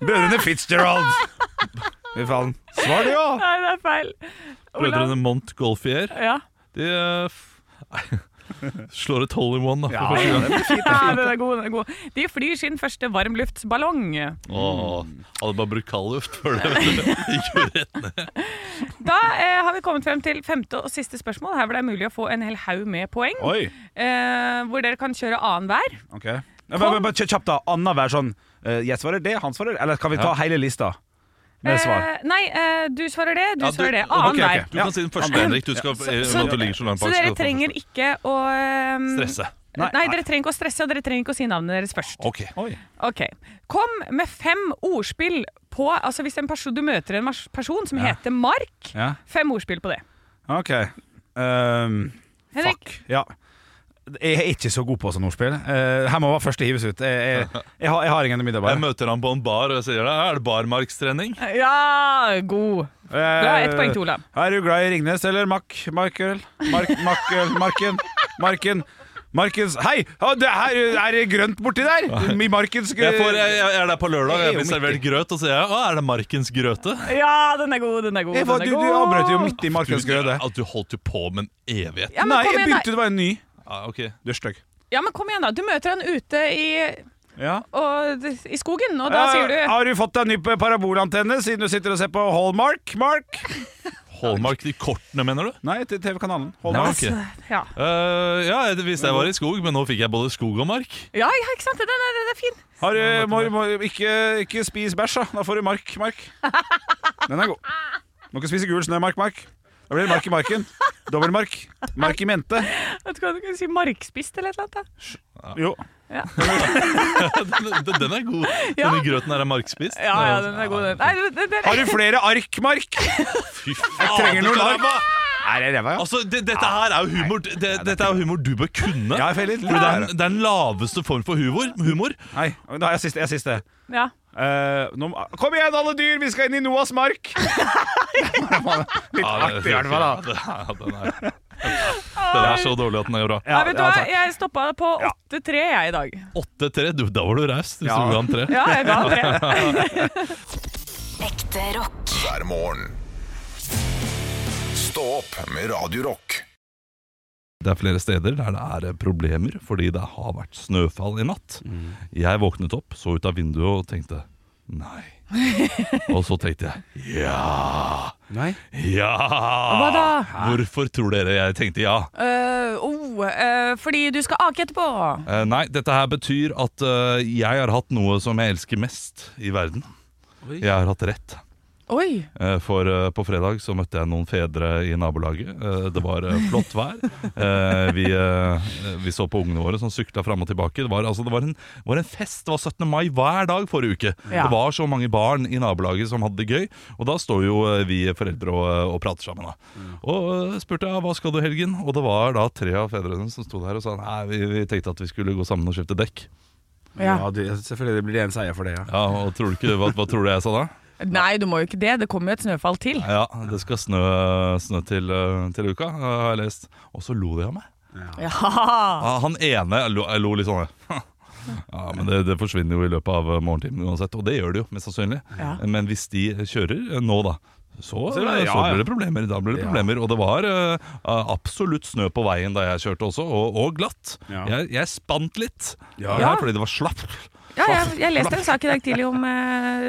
Speaker 4: Brødrene Fitzgerald. Fy faen. Svar du, ja.
Speaker 2: Nei, det er feil.
Speaker 3: Brødrene Montgolfier.
Speaker 2: Ja.
Speaker 3: De eh, f- nei, slår et hole in one da, for første gang.
Speaker 4: det blir fint.
Speaker 2: ja, den er god. Den er god. De flyr sin første varmluftsballong.
Speaker 3: Åh, hadde bare brukt kald luft før det. vet du. Gikk jo rett ned.
Speaker 2: Da eh, har vi kommet frem til femte og siste spørsmål, her hvor det er mulig å få en hel haug med poeng.
Speaker 4: Oi.
Speaker 2: Eh, hvor dere kan kjøre annenhver.
Speaker 4: Ok. Ja, men- men- men kjør Kjapt, da. Annenhver sånn eh, Jeg svarer det, han svarer Eller kan vi ta hele lista med svar?
Speaker 2: Eh, nei, eh, du svarer det, du
Speaker 3: Ja,
Speaker 2: svarer det.
Speaker 3: ok, ok.
Speaker 2: Annenhver.
Speaker 3: Du kan si den første, Henrik. Du skal, eh, i og med at du ligger så langt
Speaker 2: Så dere
Speaker 3: bak, skal du få
Speaker 2: trenger
Speaker 3: den første.
Speaker 2: ikke å ehm,
Speaker 3: Stresse.
Speaker 2: Nei,
Speaker 4: Nei,
Speaker 2: dere trenger ikke å stresse, og dere trenger ikke å si navnet deres først.
Speaker 3: Ok.
Speaker 4: Oi.
Speaker 2: Ok. Kom med fem ordspill på Altså hvis en person, du møter en mas- person som heter Mark,
Speaker 4: Ja.
Speaker 2: fem ordspill på det.
Speaker 4: Ok. Um,
Speaker 2: Henrik,
Speaker 4: Fuck. Ja. Jeg er ikke så god på sånne ordspill. Eh, her må være første hives ut. Jeg, jeg, jeg, har, jeg har ingen
Speaker 3: Jeg
Speaker 4: umiddelbare.
Speaker 3: møter han på en bar og jeg sier «Ja, er det barmarkstrening?
Speaker 2: Ja, god. Bra. Ett poeng til Olav.
Speaker 4: Eh, Er du glad i Ringnes eller Mack? Markøl? Mark, Markøl? Marken? Marken? Markens Hei! Ja, det her, er det grønt borti der? I Markens
Speaker 3: Jeg, får, jeg, jeg er der på lørdag, jeg
Speaker 4: Jeg er jo
Speaker 3: blir
Speaker 4: midt i.
Speaker 3: servert grøt, og så sier jeg «Å, er det Markens grøte?
Speaker 2: Ja, den er god, den er god.
Speaker 4: Jeg var,
Speaker 2: den
Speaker 4: du,
Speaker 2: er
Speaker 4: du
Speaker 2: god.
Speaker 4: avbrøt jo midt i Markens
Speaker 3: Du,
Speaker 4: grøde.
Speaker 3: at du holdt jo på med en evighet.
Speaker 2: Ja, men
Speaker 4: Nei,
Speaker 2: kom igjen,
Speaker 4: jeg
Speaker 2: da.
Speaker 4: begynte, det var en ny.
Speaker 3: Ja, ok.
Speaker 4: Du er stygg.
Speaker 2: Ja, men kom igjen, da. Du møter han ute i,
Speaker 4: Ja.
Speaker 2: og, i skogen, og da sier
Speaker 4: Eh,
Speaker 2: du
Speaker 4: Har du fått deg ny parabolantenne siden du sitter og ser på Hallmark? Mark?
Speaker 3: Hallmark, de kortene, mener du?
Speaker 4: Nei, til TV-kanalen.
Speaker 3: Nei,
Speaker 4: Hallmark.
Speaker 3: ok.
Speaker 2: Altså, ja.
Speaker 3: Eh, ja, jeg visste jeg var i skog, men nå fikk jeg både skog og mark.
Speaker 2: ja, ja, ikke sant? Den er, den er fin.
Speaker 4: Har, du- må, må, ikke, ikke spis bæsj, da. Da får du mark, Mark. Den er god. Må ikke spise gul snø, Mark, Mark. Da blir det mark i marken. Dobbelmark. Mark i mente.
Speaker 2: Vet du hva du kan si? Markspist eller et eller annet? da?
Speaker 4: Jo.
Speaker 3: Den, den den er god.
Speaker 2: Ja.
Speaker 3: Denne grøten her er markspist.
Speaker 2: Ja, ja, den er god, den. Nei, den, den,
Speaker 4: Har du flere ark, Mark?
Speaker 3: Fy faen,
Speaker 4: trenger
Speaker 3: du
Speaker 4: noe
Speaker 3: kan-
Speaker 4: larm. Er det ræva, ja?
Speaker 3: Altså, det, dette her er jo humor det, Dette er jo humor du bør kunne.
Speaker 4: Ja, jeg får litt-
Speaker 3: Fordi det er den- det er den laveste form for humor. humor.
Speaker 4: Nei, da har jeg siste. Jeg har siste.
Speaker 2: ja.
Speaker 4: Eh, nå, må- kom igjen, alle dyr! Vi skal inn i Noas mark! Litt
Speaker 3: Ja, det-
Speaker 4: artig, i hvert fall. da
Speaker 3: Ja, den er, den er så dårlig at den er bra.
Speaker 2: Nei, vet du hva?
Speaker 4: takk.
Speaker 2: Jeg stoppa på 8-3 jeg i dag.
Speaker 3: 8-3. Du, da var du raus. Hvis
Speaker 4: Ja.
Speaker 3: du ga den 3.
Speaker 2: Ja, jeg ga det.
Speaker 5: Ekte rock.
Speaker 1: hver morgen. Stå opp med Radio Rock.
Speaker 3: Det er flere steder der det er problemer fordi det har vært snøfall i natt.
Speaker 4: Mm.
Speaker 3: Jeg våknet opp, så ut av vinduet og tenkte nei. og så tenkte jeg ja,
Speaker 4: Nei.
Speaker 3: ja.
Speaker 2: Hva da?
Speaker 3: Hvorfor tror dere jeg tenkte ja?
Speaker 2: Eh, oh, eh, fordi du skal ake etterpå.
Speaker 3: Eh, nei, dette her betyr at eh, jeg har hatt noe som jeg elsker mest i verden.
Speaker 4: Oi.
Speaker 3: Jeg har hatt rett.
Speaker 2: Oi.
Speaker 3: Eh, For eh, på fredag så møtte jeg noen fedre i nabolaget. Eh, Det var eh, flott vær. Eh, Vi, eh, vi så på ungene våre som sykla fram og tilbake. Det var, altså, det, var en, det var en fest. Det var 17. mai hver dag forrige uke.
Speaker 2: Ja.
Speaker 3: Det var så mange barn i nabolaget som hadde det gøy. Og da står jo eh, vi foreldre og, eh, og prater sammen. Da. Og eh, spurte jeg hva skal du i helgen? Og det var da tre av fedrene som sto der og sa nei, vi, vi tenkte at vi skulle gå sammen og kjøpe dekk.
Speaker 4: Ja,
Speaker 2: Ja.
Speaker 4: du, selvfølgelig blir det en seier for det, ja.
Speaker 3: Ja, og tror du ikke, hva, hva tror du jeg sa da?
Speaker 2: Nei, du må jo ikke det. Det kommer jo et snøfall til.
Speaker 3: Ja, det skal snø, snø til, eh, til uka, eh, har jeg lest. Og så lo de av meg.
Speaker 2: Ja.
Speaker 3: Ah, Han ene lo, jeg lo litt sånn. Ja, men det, det forsvinner jo i løpet av eh, morgentimen uansett, og det gjør det jo, mest sannsynlig.
Speaker 2: Ja.
Speaker 3: Men hvis de kjører eh, nå, da, så,
Speaker 4: Så det- ja,
Speaker 3: så
Speaker 4: ja.
Speaker 3: blir det problemer. Da blir det
Speaker 4: Ja.
Speaker 3: problemer. Og det var eh, absolutt snø på veien da jeg kjørte også, og, og glatt.
Speaker 4: Ja.
Speaker 3: Jeg, jeg spant litt,
Speaker 4: Ja.
Speaker 3: Ja, fordi det var slapt.
Speaker 2: Ja, jeg, jeg leste en sak i dag tidlig om eh,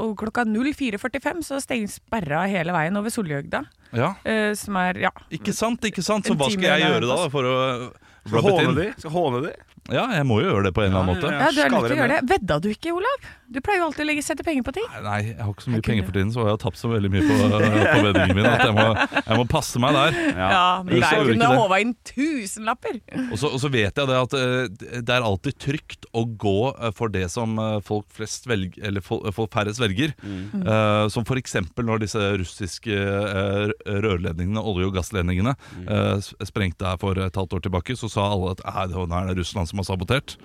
Speaker 2: og klokka 04.45 så steng- sperra hele veien over Solhjøgda.
Speaker 3: Ja,
Speaker 2: eh, som er Ja.
Speaker 3: ikke sant, ikke sant. Så
Speaker 2: En
Speaker 3: hva
Speaker 2: time
Speaker 3: skal
Speaker 2: unna
Speaker 3: jeg gjøre da for å
Speaker 4: Skal
Speaker 3: rub it
Speaker 4: håne
Speaker 3: in?
Speaker 4: de? Skal håne de?
Speaker 3: Ja, jeg må jo gjøre det på en eller annen
Speaker 4: Ja,
Speaker 3: måte.
Speaker 4: ja,
Speaker 2: ja du er nødt
Speaker 4: skaller
Speaker 2: til å
Speaker 4: det
Speaker 2: gjøre det. Vedda du ikke, Olav? Du pleier jo alltid å legge, sette penger på ting.
Speaker 3: Nei, jeg har ikke så mye penger for tiden, så jeg har tapt så veldig mye på, på vedningen min at jeg må, jeg må passe meg der.
Speaker 2: Ja, men
Speaker 3: så
Speaker 2: der
Speaker 3: gjorde
Speaker 2: kunne
Speaker 3: ikke det.
Speaker 2: håva inn tusenlapper.
Speaker 3: Og så, og så vet jeg det at eh, det er alltid trygt å gå eh, for det som eh, folk flest velger, eller folk, folk færrest velger. Eh, som for eksempel når disse russiske eh, rø- rørledningene, olje- og gassledningene, eh, s- sprengte her for et halvt år tilbake, så sa alle at «Nei, det nå er det Russland som har sabotert.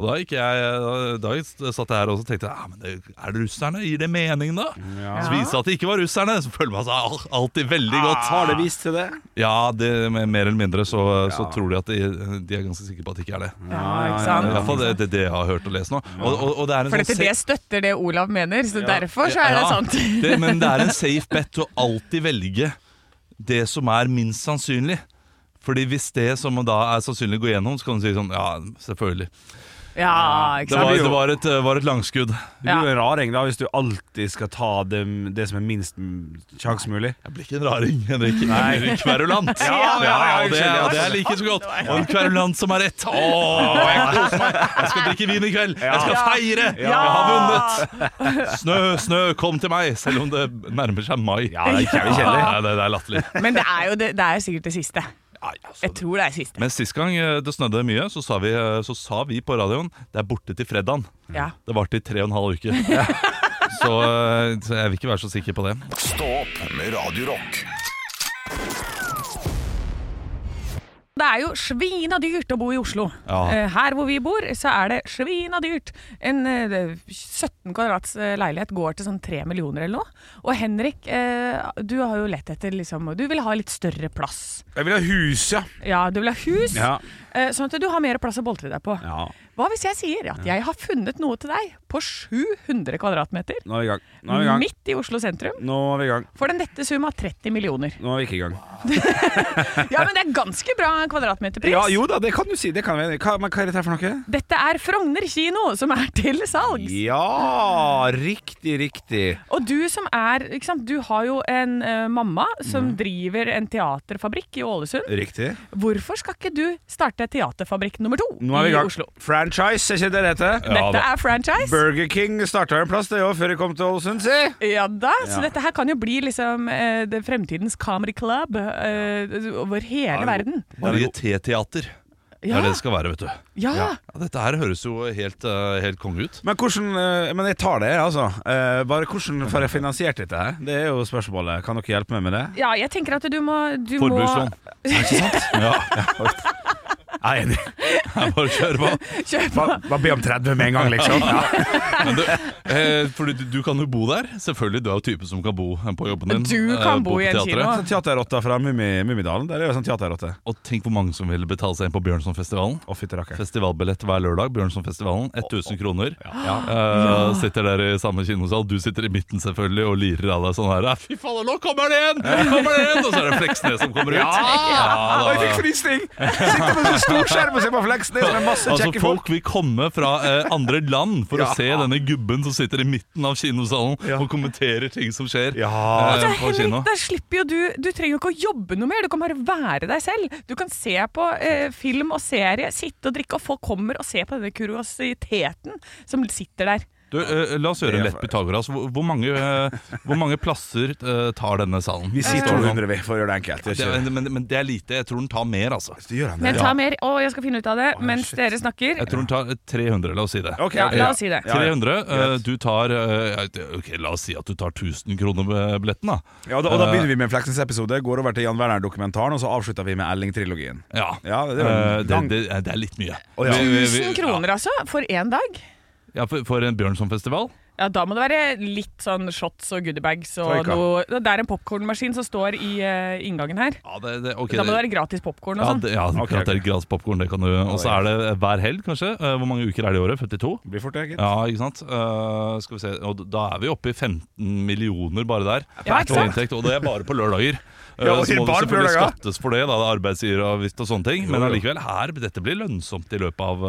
Speaker 3: Og da, gikk jeg, eh, da, da satt jeg her og så tenkte jeg, «Ja, men det, er det russerne? Gir det mening da? Så viste det at det ikke var russerne, så føler man seg al- alltid veldig godt.
Speaker 2: Ah.
Speaker 4: Har det vist til det?
Speaker 3: Ja, det, mer eller mindre så, så tror de at de, de er ganske sikre på at det ikke er det.
Speaker 2: Ja, ikke
Speaker 3: I
Speaker 2: sant?
Speaker 3: hvert fall det, det, er det jeg har hørt og lest nå. Og, og, og det er en
Speaker 2: For
Speaker 3: sånn
Speaker 2: dette det
Speaker 3: safe-
Speaker 2: støtter det Olav mener, så derfor så er det
Speaker 3: Ja,
Speaker 2: sant.
Speaker 3: det- men det er en safe bet å alltid velge det som er minst sannsynlig. Fordi hvis det som da er sannsynlig går gjennom, så kan du si sånn Ja, selvfølgelig.
Speaker 2: Ja, ikke
Speaker 3: Det var,
Speaker 2: sant?
Speaker 3: det var, et, var et langskudd.
Speaker 4: Du blir jo
Speaker 2: Ja.
Speaker 4: en raring da hvis du alltid skal ta det, det som er minst mm, sjanse mulig.
Speaker 3: Jeg blir ikke en raring, Henrik. Jeg blir kverulant.
Speaker 4: Ja, ja, ja,
Speaker 3: og det,
Speaker 4: skjønner,
Speaker 3: og det er like så godt. Og en kverulant som har rett. Å, jeg koser meg. Jeg skal drikke vin i kveld. Jeg skal feire. Jeg har vunnet. Snø, snø, kom til meg. Selv om det nærmer seg mai. Ja,
Speaker 4: det er jævlig kjedelig.
Speaker 3: Det, det er latterlig. altså.
Speaker 2: Men det er jo det, det er sikkert det siste.
Speaker 3: Ja, ja, så
Speaker 2: Jeg
Speaker 3: det-
Speaker 2: tror det er siste.
Speaker 3: Men sist gang eh, det snødde mye, så sa vi, eh, så sa vi på radioen det er borte til fredagen.
Speaker 2: Ja.
Speaker 3: Det varte i tre og en halv uke. Så, eh, så jeg vil ikke være så sikker på det.
Speaker 1: Stå opp med Radio Rock.
Speaker 2: Det er jo svina dyrt å bo i Oslo.
Speaker 3: Ja.
Speaker 2: Eh, Her hvor vi bor, så er det svina dyrt. En eh, 17 kvadrats eh, leilighet går til sånn 3 millioner eller noe. Og Henrik, eh, du har jo lett etter liksom Du vil ha litt større plass.
Speaker 4: Jeg vil ha hus, ja.
Speaker 2: Ja, du vil ha hus,
Speaker 4: Ja.
Speaker 2: eh, sånn at du har mer plass å boltre deg på.
Speaker 4: Ja.
Speaker 2: Hva hvis jeg sier at jeg har funnet noe til deg på 700 kvadratmeter?
Speaker 4: Nå er vi i gang. Nå er vi i gang.
Speaker 2: Midt i Oslo sentrum.
Speaker 4: Nå er vi i gang.
Speaker 2: For den nette sum av 30 millioner.
Speaker 4: Nå er vi ikke i gang.
Speaker 2: Ja, men det er ganske bra kvadratmeterpris.
Speaker 4: Ja, jo da, det kan du si. Det kan vi. Hva, men hva er dette her for noe?
Speaker 2: Dette er Frogner kino, som er til salgs.
Speaker 4: Ja, riktig, riktig.
Speaker 2: Og du som er ikke sant, Du har jo en eh, mamma som driver en teaterfabrikk i Ålesund.
Speaker 4: Riktig.
Speaker 2: Hvorfor skal ikke du starte teaterfabrikk nummer to
Speaker 4: Nå er vi
Speaker 2: i
Speaker 4: i gang.
Speaker 2: Oslo?
Speaker 4: Franchise, er ikke det det heter?
Speaker 3: Ja,
Speaker 2: Dette
Speaker 3: da.
Speaker 2: er franchise.
Speaker 4: Burger King starta en plass, det òg, før jeg kom til Ålesund, si.
Speaker 2: Ja da, så
Speaker 4: Ja.
Speaker 2: dette her kan jo bli liksom eh, det fremtidens comedy club eh, over hele verden.
Speaker 3: Varietéteater det
Speaker 2: Ja,
Speaker 3: er det det skal være, vet du.
Speaker 2: ja,
Speaker 3: Ja, dette her høres jo helt, eh, helt konge ut.
Speaker 4: Men hvordan eh, Men jeg tar det, altså. Eh, Bare hvordan får jeg finansiert dette her? Det er jo spørsmålet. Kan dere hjelpe meg med det?
Speaker 3: sånn.
Speaker 2: ja, jeg tenker at du må, du må
Speaker 3: Forbrukslån. Ikke sant? Ja.
Speaker 4: Jeg er enig.
Speaker 3: Jeg bare kjør på.
Speaker 2: Kjør på.
Speaker 4: Bare, bare be om 30 med en gang, liksom. Ja.
Speaker 3: Men du, eh, fordi du, du kan jo bo der. Selvfølgelig, du er jo typen som kan bo eh, på jobben din.
Speaker 2: Du kan
Speaker 3: eh,
Speaker 2: bo
Speaker 3: på
Speaker 2: i en
Speaker 3: teatret.
Speaker 2: kino.
Speaker 4: Sånn teaterrotta fra Mummi- Mummidalen. Der er jo sånn teaterrotte.
Speaker 3: Og tenk hvor mange som vil betale seg inn på Bjørnsonfestivalen.
Speaker 4: Å, fytti rakker.
Speaker 3: Festivalbillett hver lørdag. Bjørnsonfestivalen, 1000 kroner. Eh, sitter der i samme kinosal. Du sitter i midten selvfølgelig og lirer av deg sånn her. Fy faen, nå kommer det en! Nå kommer det en! Og så er det Fleksnes som kommer ut. Ja,
Speaker 4: Og
Speaker 3: da-
Speaker 4: Ah, jeg fikk frysning! Sitter med sånn stor skjerm og ser på Fleksnes med sånn masse
Speaker 3: Altså
Speaker 4: kjekke folk.
Speaker 3: Folk vil komme fra eh, andre land for
Speaker 4: Ja.
Speaker 3: å se denne gubben som sitter i midten av kinosalen
Speaker 4: Ja.
Speaker 3: og kommenterer ting som skjer
Speaker 4: Ja.
Speaker 3: eh,
Speaker 2: Altså,
Speaker 3: på kino.
Speaker 2: Henrik, da slipper jo du Du trenger jo ikke å jobbe noe mer, du kan bare være deg selv. Du kan se på eh, film og serie, sitte og drikke, og folk kommer og ser på denne kuriositeten som sitter der.
Speaker 3: Du, eh, la oss gjøre en lett Pythagoras. Hvor, hvor, mange, eh, hvor mange plasser eh, tar denne salen?
Speaker 4: Vi sier 200, vi, for å gjøre det enkelt.
Speaker 3: Det,
Speaker 4: Det er ikke...
Speaker 3: men, men- men det er lite. Jeg tror den tar mer, altså.
Speaker 4: Du gjør han
Speaker 2: Men
Speaker 4: det.
Speaker 2: jeg tar mer, å, jeg skal finne ut av det mens
Speaker 4: shit.
Speaker 2: dere snakker.
Speaker 3: Jeg tror den tar 300, la oss si det.
Speaker 4: Ok,
Speaker 2: Ja,
Speaker 4: ok.
Speaker 2: la oss si det.
Speaker 4: Ja, ja.
Speaker 3: 300, eh, du tar eh, Ok, la oss si at du tar 1000 kroner med billetten, da.
Speaker 4: Ja, da, og da begynner vi med en Fleksnes-episode, går over til Jan Werner-dokumentaren, og så avslutter vi med Elling-trilogien.
Speaker 3: Ja,
Speaker 4: Ja, det er jo
Speaker 3: Eh,
Speaker 4: en
Speaker 3: det,
Speaker 4: lang-
Speaker 3: det, det er litt mye.
Speaker 4: Å, ja.
Speaker 3: Vi- vi- vi-
Speaker 2: 1000 kroner, altså, for én dag?
Speaker 3: Ja, for, for en Bjørnsonfestival?
Speaker 2: Ja, Da må det være litt sånn shots og goodiebags. Og
Speaker 4: Troika.
Speaker 2: noe, det er en popkornmaskin som står i eh, inngangen her.
Speaker 3: Ja, det, det, ok,
Speaker 2: Da må det være gratis popkorn og
Speaker 3: ja,
Speaker 2: sånn.
Speaker 3: det, ja,
Speaker 4: Ok,
Speaker 3: at det er
Speaker 4: ok.
Speaker 3: gratis popcorn, det kan du Og så er det hver helg, kanskje. Eh, Hvor mange uker er det i året? 52?
Speaker 4: Blir fort, det, gitt.
Speaker 3: Ja, ikke sant? Eh, skal vi se. Og da er vi oppe i 15 millioner bare der.
Speaker 2: Ja, ikke
Speaker 3: Og
Speaker 2: sant?
Speaker 3: inntekt, Og det er bare på lørdager. Eh,
Speaker 4: Ja, og
Speaker 3: så må det
Speaker 4: bare på
Speaker 3: selvfølgelig
Speaker 4: lørdager.
Speaker 3: skattes for det, da, det er arbeidsgiveravgift og sånne ting. Men
Speaker 4: jo.
Speaker 3: allikevel, her, dette blir lønnsomt i løpet av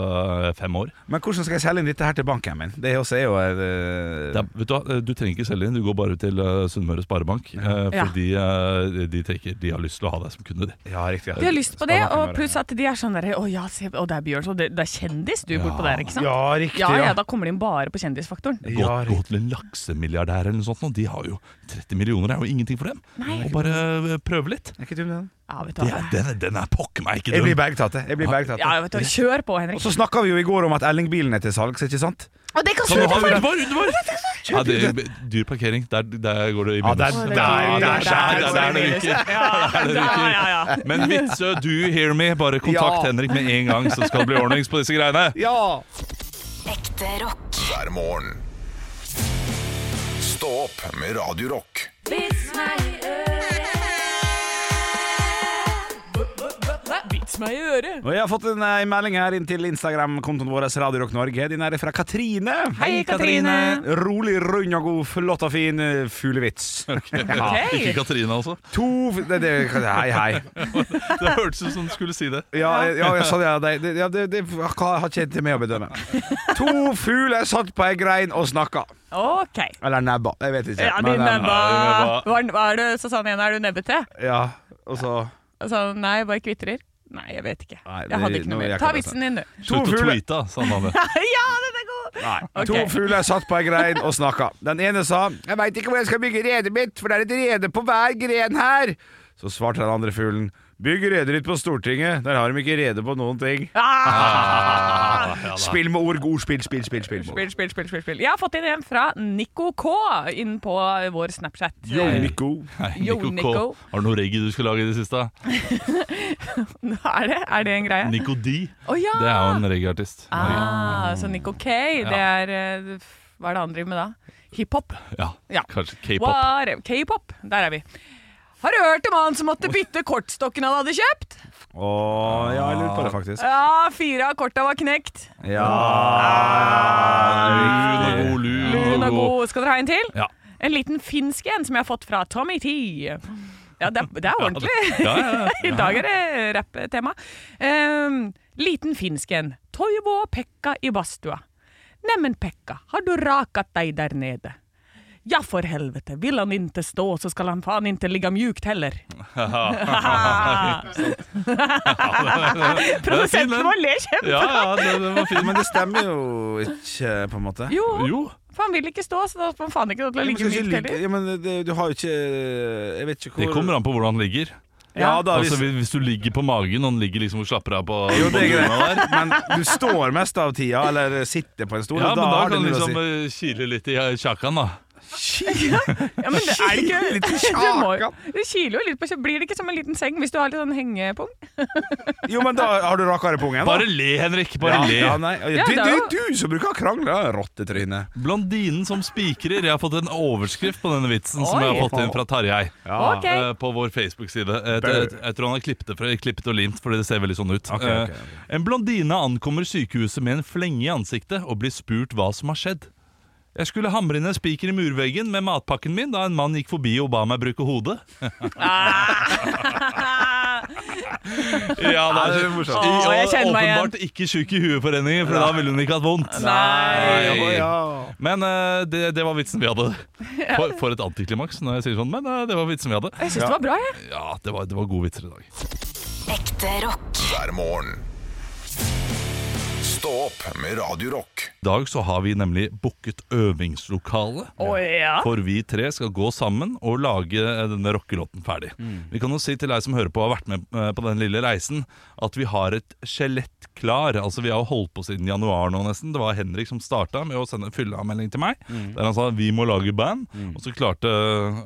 Speaker 3: eh, fem år.
Speaker 4: Men hvordan skal jeg selge inn dette her til banken min? Det er også er jo et, eh,
Speaker 3: Det er, vet Du hva, eh, du trenger ikke selge inn, du går bare til eh, Sunnmøre Sparebank. eh,
Speaker 2: Ja.
Speaker 3: Fordi eh, de tenker de har lyst til å ha deg som kunde. de.
Speaker 4: Ja, riktig.
Speaker 2: De har lyst på det,
Speaker 4: Sparebanken
Speaker 2: og
Speaker 4: bare-
Speaker 2: pluss at de er sånn derre Å ja, se, og det er Bjørn, så det, det er kjendis du bortpå der, ikke sant?
Speaker 4: Ja, riktig.
Speaker 2: Ja, ja, da kommer de inn bare på kjendisfaktoren.
Speaker 3: Gå,
Speaker 4: Ja,
Speaker 3: gå til en laksemilliardær eller noe sånt, nå, de har jo 30 millioner, det er jo ingenting for dem. Og bare eh, prøve litt.
Speaker 4: Er ikke dum, den.
Speaker 2: Ja, vet du
Speaker 3: Det er,
Speaker 2: hva.
Speaker 3: den, den er pokker meg ikke
Speaker 4: Jeg blir
Speaker 3: dum.
Speaker 4: bergtatt. jeg. Jeg blir bergtatt.
Speaker 2: Ja, vet du, hva. kjør på,
Speaker 4: Og
Speaker 2: Henrik.
Speaker 4: så snakka vi jo i går om at Elling-bilen er til salgs, ikke sant?
Speaker 2: Og det kan
Speaker 3: Kan du ha
Speaker 2: kjøre på!
Speaker 3: Udvar? Udvar? Ja, det er dyr parkering. Der, der går det i
Speaker 4: Ja,
Speaker 3: minus.
Speaker 4: der- der- der- der-
Speaker 3: der- der- der- ryker.
Speaker 2: Ja,
Speaker 3: Der det
Speaker 2: ja, ja, ja.
Speaker 3: ryker. Men Witzøe, do you hear me? Bare kontakt
Speaker 4: Ja.
Speaker 3: Henrik med en gang, så skal det bli ordnings på disse greiene.
Speaker 4: Ja!
Speaker 5: Ekte rock.
Speaker 1: hver morgen. Stå opp med Radio Rock.
Speaker 2: Vits meg i øret.
Speaker 4: Og jeg har fått en eh, melding her inn til Instagram-kontoen vår, Radio Rock Norge. Den er fra Katrine.
Speaker 2: Hei, Katrine.
Speaker 4: Rolig, rund og god, flott og fin eh, fuglevits. Ja.
Speaker 2: Ok.
Speaker 3: Ikke Katrine, altså.
Speaker 4: To f- det, det, Hei, hei.
Speaker 3: Det hørtes ut som du skulle si det.
Speaker 4: Ja, ja, ja, sånn, ja, det, det, ja det, det har har ikke jeg til meg å bedømme. To fugler satt på ei grein og snakka.
Speaker 2: OK.
Speaker 4: Eller nebba. Jeg vet ikke.
Speaker 2: Ja,
Speaker 4: Men,
Speaker 2: din
Speaker 4: eh,
Speaker 2: nebba
Speaker 3: ja,
Speaker 2: Hva er- hva er det, Susanne Ene, er du nebbete?
Speaker 4: Ja, og så
Speaker 2: Altså, nei, bare kvitrer. Nei, jeg vet ikke.
Speaker 4: Nei, det-
Speaker 2: Jeg hadde ikke
Speaker 4: nå
Speaker 2: noe
Speaker 4: vil
Speaker 2: mer.
Speaker 4: jeg
Speaker 2: Ta
Speaker 4: ikke ha det.
Speaker 2: vitsen din, du.
Speaker 4: To
Speaker 3: Slutt å
Speaker 4: fugler-
Speaker 3: tweete, sa han andre.
Speaker 2: Ja, den er god!
Speaker 4: Nei.
Speaker 2: Ok.
Speaker 4: To fugler satt på ei grein og snakka. Den ene sa 'Jeg veit ikke hvor jeg skal bygge redet mitt, for det er et rede på hver gren her'. Så svarte den andre fuglen 'Bygg redet ditt på Stortinget, der har de ikke rede på noen ting'.
Speaker 2: Ah!
Speaker 4: Spill med ord, god spill, spill, spill. spill, spill.
Speaker 2: Spill, spill, spill, spill, spill. Jeg har fått inn en fra Nico K inn på vår Snapchat.
Speaker 4: Yo, Nico.
Speaker 3: Nei,
Speaker 2: Yo,
Speaker 3: Nico K.
Speaker 2: Nico.
Speaker 3: Har du noe reggae du skulle lage i det siste?
Speaker 2: Er det, er det en greie?
Speaker 3: Nico D.
Speaker 2: Å ja!
Speaker 3: Det er jo en reggaeartist.
Speaker 2: Ah, så Nico K, det
Speaker 3: Ja.
Speaker 2: er eh, f- Hva er det han driver med da? Hiphop?
Speaker 3: Ja,
Speaker 2: Ja.
Speaker 3: kanskje K-pop.
Speaker 2: Whatever. K-pop. Der er vi. Har du hørt om han som måtte bytte kortstokken han hadde kjøpt?
Speaker 4: Å, ja, jeg lurer på det, faktisk.
Speaker 2: Ja, fire av korta var knekt.
Speaker 4: Ah.
Speaker 2: Ah.
Speaker 4: Ja
Speaker 3: Lun og god,
Speaker 2: Lun og
Speaker 3: lun og god.
Speaker 2: god. Skal dere ha en til?
Speaker 3: Ja.
Speaker 2: En liten finsk en som jeg har fått fra Tommy T. Ja, det er, det er ordentlig.
Speaker 3: Ja, ja, ja.
Speaker 2: I dag er det rapptema. Um, liten finsk en. Toivo og Pekka i badstua. Nemmen Pekka, har du rakat deg der nede? Ja, for helvete. Vil han ikke stå, så skal han faen ikke ligge mjukt heller. Ah.
Speaker 3: fin,
Speaker 2: Produsenten
Speaker 3: den.
Speaker 2: vår ler kjempe.
Speaker 3: Ja, ja, det, det var fint.
Speaker 4: Men det stemmer jo ikke, på en måte.
Speaker 2: Jo,
Speaker 3: Jo,
Speaker 2: for han vil ikke stå, så da får han faen ikke lov til å
Speaker 4: Men
Speaker 2: ligge
Speaker 4: skal ikke
Speaker 2: mjukt
Speaker 4: ligge-
Speaker 2: heller.
Speaker 4: ja, men det, du har jo ikke Jeg vet ikke hvor
Speaker 3: det kommer an på hvordan han ligger.
Speaker 4: Ja, da, hvis,
Speaker 3: Altså, hvis- Hvis du ligger på magen, og han ligger liksom og slapper av på
Speaker 4: jo,
Speaker 3: på
Speaker 4: det er
Speaker 3: dyna der,
Speaker 4: greit. Men du står mest av tida, eller sitter på en stol.
Speaker 3: ja,
Speaker 4: og
Speaker 3: men da
Speaker 4: har
Speaker 3: kan
Speaker 4: det
Speaker 3: han
Speaker 4: noe å
Speaker 3: liksom
Speaker 4: si.
Speaker 3: eh, kile litt i eh, kjakan, da.
Speaker 2: Ja, men det er det ikke det, må, jo- det kiler jo litt på kjø- Blir det ikke som en liten seng hvis du har litt sånn hengepung?
Speaker 4: Jo, men da har du rakere pungen. da.
Speaker 3: Bare le, Henrik! Bare
Speaker 4: ja,
Speaker 3: le.
Speaker 4: ja, nei.
Speaker 2: Ja,
Speaker 4: du,
Speaker 2: det er
Speaker 4: du, du som bruker å krangle, rottetryne.
Speaker 3: Blondinen som spikrer. Jeg har fått en overskrift på denne vitsen som jeg har fått inn fra Tarjei.
Speaker 2: Ok.
Speaker 3: eh, På vår Facebook-side. Eh, det- Jeg, tror han har klippet det fra, klippet og limt, fordi det ser veldig sånn ut.
Speaker 4: Ok, ok, ok.
Speaker 3: Eh, En blondine ankommer sykehuset med en flenge i ansiktet og blir spurt hva som har skjedd. Jeg skulle hamre inn en spiker i murveggen med matpakken min da en mann gikk forbi og ba meg bruke hodet.
Speaker 2: Ah.
Speaker 3: ja, det er morsomt.
Speaker 2: Åh, jeg kjenner meg igjen.
Speaker 3: Åpenbart ikke tjukk i hueforeningen, for da ville hun ikke hatt vondt. Nei. Men eh, det, det var vitsen vi hadde. For, for et antiklimaks når jeg sier sånn, men eh, det var vitsen vi hadde.
Speaker 2: Jeg syns det var bra, jeg.
Speaker 3: Ja, det var, det var gode vitser i dag.
Speaker 5: Ekte rock.
Speaker 1: hver morgen. Stå opp med Radio Rock.
Speaker 3: I dag så har vi nemlig booket øvingslokale.
Speaker 2: Å ja.
Speaker 3: For vi tre skal gå sammen og lage eh, denne rockelåten ferdig.
Speaker 2: Mm.
Speaker 3: Vi kan jo si til deg som hører på og har vært med eh, på den lille reisen, at vi har et skjelett klar. Altså Vi har jo holdt på siden januar nå nesten. Det var Henrik som starta med å sende fylleavmelding til meg.
Speaker 2: Mm.
Speaker 3: Der han sa vi må lage band. Og så klarte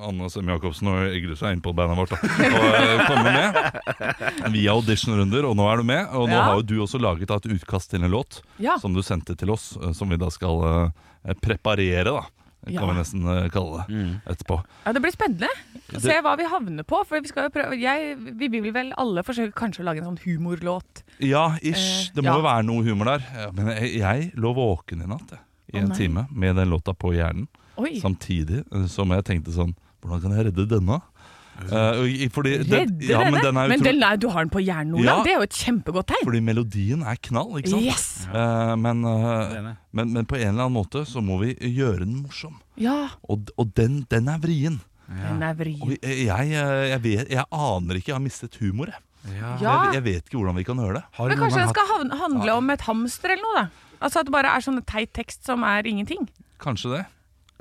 Speaker 3: Anne Sem Jacobsen og Egil seg inn på bandet vårt da, og eh, komme med via auditionrunder. Og nå er du med. Og nå
Speaker 2: Ja.
Speaker 3: har jo du også laget da, et utkast til en låt
Speaker 2: Ja.
Speaker 3: som du sendte til oss, eh, som vi da skal eh, preparere. da kan
Speaker 2: Ja.
Speaker 3: vi nesten eh, kalle det etterpå.
Speaker 2: ja. Det blir spennende å se hva vi havner på. For vi, skal jo prøve, jeg, vi vil vel alle forsøke kanskje å lage en sånn humorlåt.
Speaker 3: Ja, ish.
Speaker 2: Eh,
Speaker 3: Det må
Speaker 2: ja.
Speaker 3: jo være noe humor der. Ja, Men jeg, jeg lå våken i natt jeg, i en
Speaker 2: nei.
Speaker 3: time med den låta på hjernen.
Speaker 2: Oi.
Speaker 3: Samtidig eh, som jeg tenkte sånn Hvordan kan jeg redde denne? Eh, og i- fordi,
Speaker 2: Redde
Speaker 3: den, ja, men
Speaker 2: denne.
Speaker 3: den er
Speaker 2: men
Speaker 3: utrolig-
Speaker 2: den er, du har den på hjernen, Olav.
Speaker 3: Ja.
Speaker 2: Det er jo et kjempegodt tegn.
Speaker 3: Fordi melodien er knall, ikke sant?
Speaker 2: Yes.
Speaker 3: Eh, men, eh,
Speaker 4: er det.
Speaker 3: men, men på en eller annen måte så må vi gjøre den morsom.
Speaker 2: Ja.
Speaker 3: Og, og den, den er vrien.
Speaker 2: Den er vrien.
Speaker 3: Og jeg, jeg, jeg, vet, jeg aner ikke, jeg har mistet humor. Jeg.
Speaker 2: Ja.
Speaker 3: Jeg, jeg vet ikke hvordan vi kan høre det.
Speaker 4: Har
Speaker 2: Men kanskje den skal havne, handle om et hamster eller noe, da. Altså at det bare er sånn teit tekst som er ingenting.
Speaker 3: Kanskje det.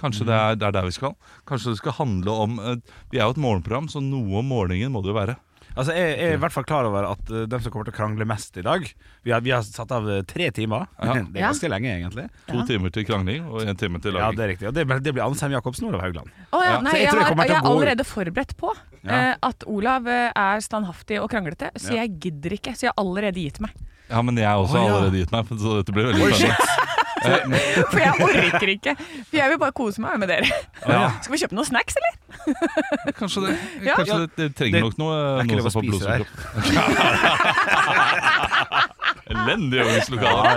Speaker 3: Kanskje det, er, det er der vi skal. Kanskje det skal handle om eh, Vi er jo et morgenprogram, så noe om morgenen må det jo være.
Speaker 4: Altså, jeg, jeg er i hvert fall klar over at uh, dem som kommer til å krangle mest i dag Vi har, vi har satt av uh, tre timer.
Speaker 3: Ja.
Speaker 4: Det er ganske lenge, egentlig.
Speaker 3: To timer til krangling og én time til
Speaker 4: Ja,
Speaker 3: laging.
Speaker 4: det er riktig. Og det, det blir Ansheim Jacobsen og Olav Haugland.
Speaker 2: Å ja,
Speaker 3: Ja.
Speaker 2: nei,
Speaker 4: Så jeg
Speaker 2: jeg,
Speaker 4: tror jeg
Speaker 2: har,
Speaker 4: kommer til å
Speaker 2: jeg er
Speaker 4: gå ut.
Speaker 2: allerede forberedt på eh, at Olav eh, er standhaftig og kranglete, så jeg gidder ikke. Så jeg har allerede gitt meg.
Speaker 3: ja, men jeg har også
Speaker 4: Å, ja.
Speaker 3: allerede gitt meg, så dette blir veldig spennende. Eh,
Speaker 2: For jeg orker ikke. For jeg vil bare kose meg med dere.
Speaker 3: Ja,
Speaker 2: Skal vi kjøpe noen snacks, eller?
Speaker 3: kanskje det.
Speaker 2: Ja.
Speaker 3: Kanskje det, det trenger
Speaker 4: Det-
Speaker 3: nok noe,
Speaker 4: det er ikke
Speaker 3: noe
Speaker 4: lov
Speaker 3: som
Speaker 4: å
Speaker 3: får
Speaker 4: spise der.
Speaker 3: blodsukker opp. Elendig øvingslokale.